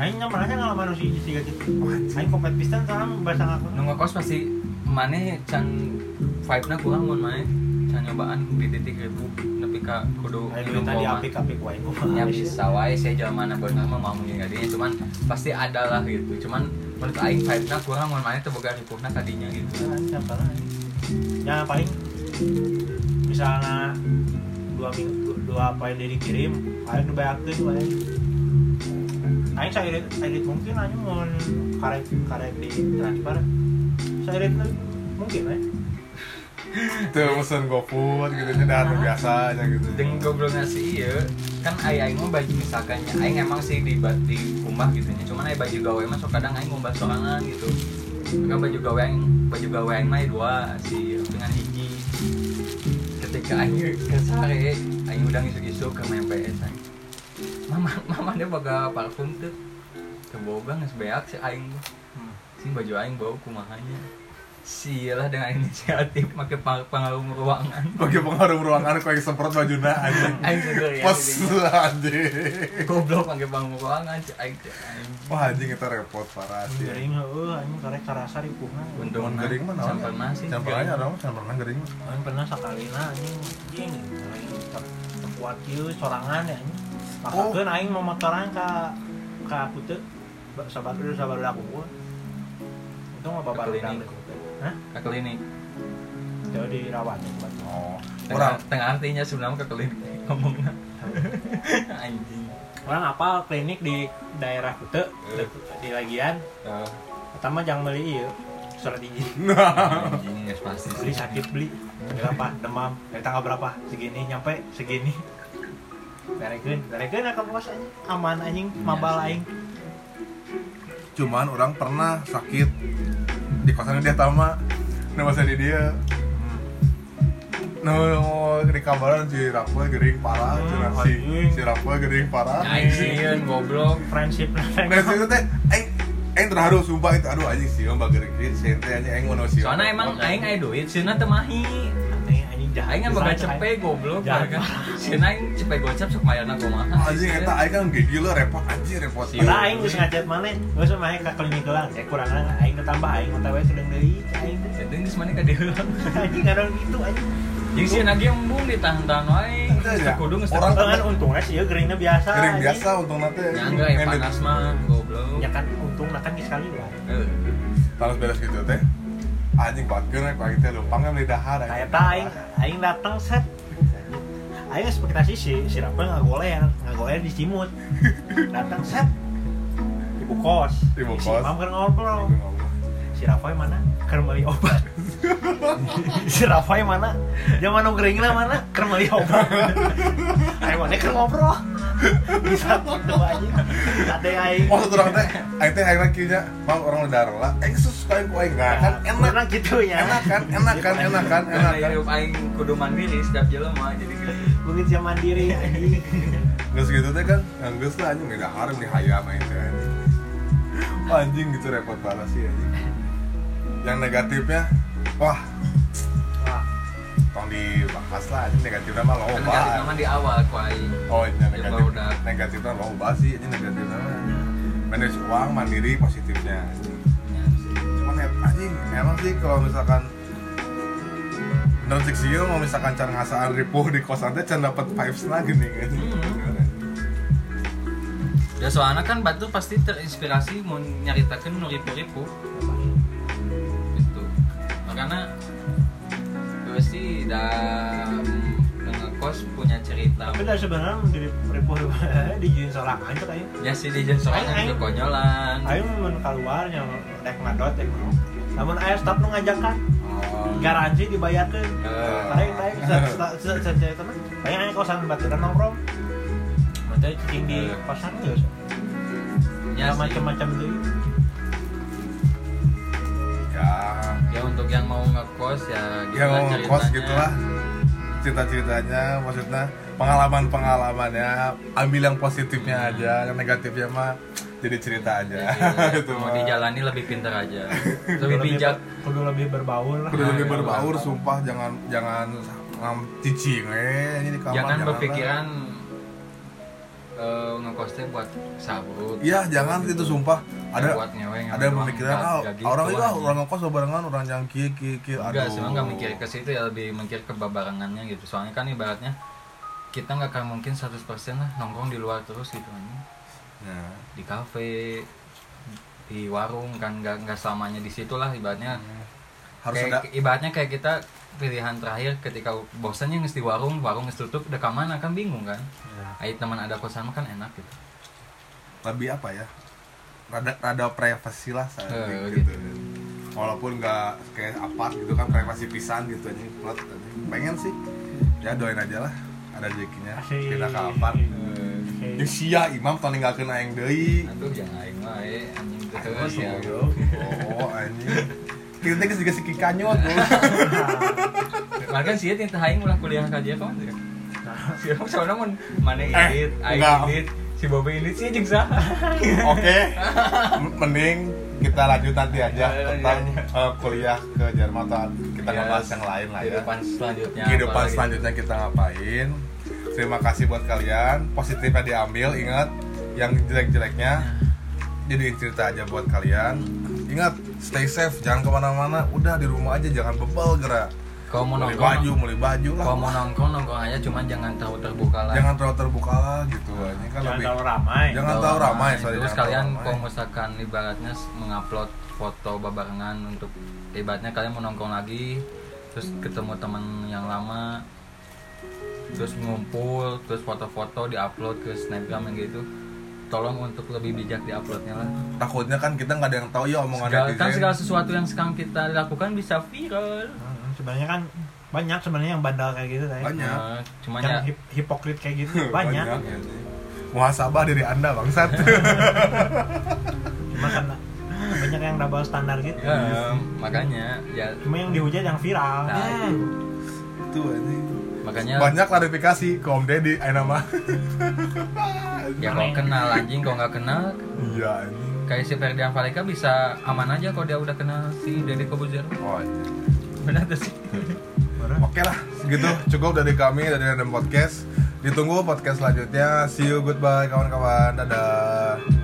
Aing nyaman aja ngalaman usia tiga gitu. Aing kompet pisan sekarang bahasa ngaku.
nunggu kos pasti mana can vibe nya kurang mau main can nyobaan di titik ribu tapi ka kudu
Aing
minum
dulu tadi
koma.
apik-apik wae gua.
ya bisa wae saya jalan mana benar mah mau mungkin kadinya cuman pasti ada lah gitu cuman menurut aing vibe nya kurang mau main teboga ripuhna kadinya gitu
Jalan, siapa lagi? Ya paling misalnya dua minggu dua poin dari dikirim, paling udah banyak tuh wae. Aing saya edit, edit mungkin aja mau karek karek di transfer. Saya edit mungkin ya.
Tuh mesen GoFood gitu nya dah nu biasa aja gitu.
Dengan goblongnya sih iya kan ayah aing mah baju misalkannya aing emang sih di ba- di kumbah gitu nya cuman aing baju gawe mah sok kadang aing ngumbah sorangan gitu maka baju gawe aing baju gawe aing mah dua si Iya dengan hiji ketika aing ke sare aing udah ngisuk-ngisuk ke MPS aing mama mama dia boga parfum tuh keboga geus beak si aing mah. si baju aing bau kumahanya Sialah dengan inisiatif pakai pengaruh ruangan.
Bagi pengaruh ruangan kau yang semprot bajuna anjing.
Aing juga ya.
Pos
jadinya.
anjing.
goblok pakai bang ruangan cek aing cek aing
Wah anjing itu repot parah sih.
Gering heuh, aing karek karasa di kuhna.
untung
Mun gering mah naon?
sampai masih
Campurannya ada mah campuran gering mah.
Aing pernah sekali nah anjing anjing aing ter- terkuat kieu sorangan ya anjing. Makakeun aing mau motoran ka ka puteu ba- sabar dulu sabar dulu aku gua. Itu mah babar
klinik.
udang. Hah?
ke klinik
Jauh dirawat ya buat.
Oh,
orang
orang
tengah artinya sebelum ke klinik ngomongnya anjing
Orang apal klinik di daerah Puteu dek- di lagian
Eh,
pertama jangan beli ieu surat izin
anjing ya pasti
beli sakit beli berapa demam dari tanggal berapa segini nyampe segini berekeun berekeun akan bos anjing aman anjing mabal aing
cuman orang pernah sakit di kosannya dia tama. Nah masa di dia No, di kabaran si Rafael gering parah,
Hmm,
cenah si
anjing.
si Rafael gering parah.
aing sieun goblok
friendship
Nah itu teh, aing aing terharu sumpah itu aduh anjing sih, mbak gering gering, sente anjing aing mau sih.
soalnya emang aing aya duit sieunna teu mahi
aneh anjing jahat
aing kan bakal cepe goblok
Jahat.
kan sieunna aing cepe gocap sok mayarna kumaha
anjing eta aing kan gigi lo repot anjing repot.
Si
Kita aing geus ngajat mana? Geus sama aing ka klinik gelang. Eh kurang aing tambah aing otawa sedang deui Cek aing. teh.
jadi geus mana ka dieu
Anjing ngaran gitu anjing.
jeung sieunna ge embung ditahan-tahan wae
Ente ya?
kudu geus
Orang-
Kan untungnya sih ya geringnya biasa.
Gering
anjing.
biasa untung nanti.
nyangga ya panas mah goblok
Ya kan untung lah kan sekali lah.
Eh,
Terus beres gitu teh. Anjing patkeun rek pagi teh lumpang kan dahar.
Kayak ta aing aing datang set. Aing ekspektasi si si Rafael ngagoler, ngagoler di Cimut. Datang set. Ibu kos.
Ibu
Si
kos.
Imam keur ngobrol. si Rafael mana? Kermeli obat. si Rafael mana? Zaman nongkringnya mana? Kermeli obat. Ayo mana keur ngobrol. Bisa dua aja. Ada aing.
Oh satu orang teh, aing teh akhirnya kieu bang orang udah lah. Aing sus kain ku aing Nah, kan enak.
Enak gitu ya.
Enak kan, enak kan, enak kan,
karena
enak kan.
hidup aing kudu mandiri setiap jelema jadi gitu
Mungkin siapa mandiri anjing.
Terus gitu teh kan, ngeus lah anjing udah harum nih hayam aing teh. anjing. Wah, Anjing gitu repot banget sih anjing. Yang negatifnya, wah
Wah,
tong dibahas lah anjing negatifnya mah
kan
loba.
gak nama di awal ku aing
Oh, ini
Ya,
negatif.
udah.
Negatifnya loba sih, ini negatifnya mah. Manage uang mandiri positifnya. anjing. cuman ya, anjing emang sih kalau misalkan Nonzik Sio mau misalkan cara ngasaan ripuh di kosan teh can dapat vibes lagi nih kan
ya soalnya kan batu pasti terinspirasi mau nyaritakan nu ribu-ribu gitu makanya gue sih dah ngekos punya cerita
tapi dari sebenarnya di repot di jin sorak aja aing.
ya si di jeung sorangan
Aing-
itu konyolan
Aing mun keluar yang rek madot ya. Namun aya staf nu ngajakan garansi dibayarkeun.
Eh,
Tarik, tarik, saja teman. Kayak aja kosan baturan nongkrong. Mata cicing di kosan tuh.
ya
Ya
sih.
macam-macam tuh.
ya
ya untuk yang mau ngekos ya
ya
lah
mau ngekos
ceritanya.
gitulah cerita-ceritanya maksudnya pengalaman-pengalamannya ambil yang positifnya aja yang negatifnya mah jadi cerita aja
Jadi,
Ya,
Ya
itu
Iya, mau
mah.
dijalani lebih pintar aja lebih bijak
Kudu lebih berbaur lah.
Kudu lebih
Nah,
berbaur sumpah jangan jangan ngam cicing eh ini di kamar
jangan
lah.
berpikiran eh, ngekosnya buat sabut
Iya, jangan gitu sumpah. Ada
buat nyewe, ngambil
ada yang
uang,
memikirkan
nggak-
ah,
nggak gitu
orang itu ah,
anjing.
orang ngekos barengan orang yang kieu kieu kieu.
Enggak,
Aduh.
sebenarnya nggak mikir ke situ ya lebih mikir ke babarangannya gitu. Soalnya kan ibaratnya kita nggak akan mungkin 100% lah nongkrong di luar terus gitu anjing.
Ya.
Di kafe, di warung kan nggak nggak selamanya di situ lah ibaratnya.
Harus
kayak,
ada
ibaratnya kayak kita pilihan terakhir ketika bosannya nges di warung, warung nges tutup, udah ke mana kan bingung kan. Ayo
Iya.
teman ada kosan mah kan enak gitu.
lebih apa ya? Rada rada privasi lah saya
Eh,
gitu.
gitu.
Walaupun nggak kayak apart gitu kan privasi pisan gitu anjing plot anjing. Pengen sih. Ya doain aja lah ada rezekinya
Asik.
kita ke apart.
Eh.
Oke.
Jeung sia imam tong ninggalkeun aing deui.
Aduh jangan aing mah eh anjing
Terus,
terus ya.
bro.
Oh, anjing. Kita teh geus juga sikik kanyot. bro.
Nah,
Makan sih teh aing ulah kuliah ka Jepang tuh ya.
Nah,
Si Om soalnya mun mana
Eh,
ilit, aing
enggak.
ilit, si Bobi ilit sih jeung saha.
Oke, M- mending kita lanjut nanti aja
Iya, iya,
tentang
iya.
eh, kuliah ke Jerman atau kita
Yes.
ngebahas yang lain lah ya.
Kehidupan selanjutnya. apa
Kehidupan
lagi?
selanjutnya kita ngapain? Terima kasih buat kalian. Positifnya diambil, ingat yang jelek-jeleknya
Ya.
jadi cerita aja buat kalian. Ingat, stay safe, jangan kemana-mana. Udah di rumah aja, jangan bebel gerak.
Kalau mau
Beli
nongkrong,
baju, beli baju lah.
kalau mau nongkrong nongkrong aja cuman jangan terlalu terbuka lah.
Jangan terlalu terbuka lah gitu. Ini kan
jangan
lebih.
terlalu ramai.
Jangan- terlalu ramai, sorry,
Terus
jangan
kalian
terlalu ramai.
kalau misalkan ibaratnya s- mengupload foto babarengan untuk ibaratnya kalian mau nongkrong lagi, terus ketemu teman yang lama, terus ngumpul, terus foto-foto diupload ke Snapgram yang gitu. Tolong untuk lebih bijak diuploadnya lah.
Takutnya kan kita nggak ada yang tahu ya omongan
Segala, kan
netizen.
segala sesuatu yang sekarang kita lakukan bisa viral.
Hmm, Sebenarnya kan banyak sebenarnya yang bandal kayak gitu tadi.
Banyak.
Nah, cuman ya
Yang hip- hipokrit kayak gitu banyak.
ya. Muhasabah diri Anda bangsat.
Cuma karena banyak yang double standar gitu.
ya, makanya ya
Cuma yang dihujat yang viral.
Nah,
Hmm.
itu.
Itu anjing.
makanya
Banyak klarifikasi ke Om Deddy ayeuna mah.
ya kalau kenal anjing kalau nggak kenal
Iya anjing.
kayak si Ferdian Valeka bisa aman aja kalau dia udah kenal si Deddy Kobuzer
Oh, anjing.
benar tuh sih
Bener.
Oke lah, segitu cukup dari kami dari Random Podcast. Ditunggu podcast selanjutnya. See you goodbye kawan-kawan. Dadah.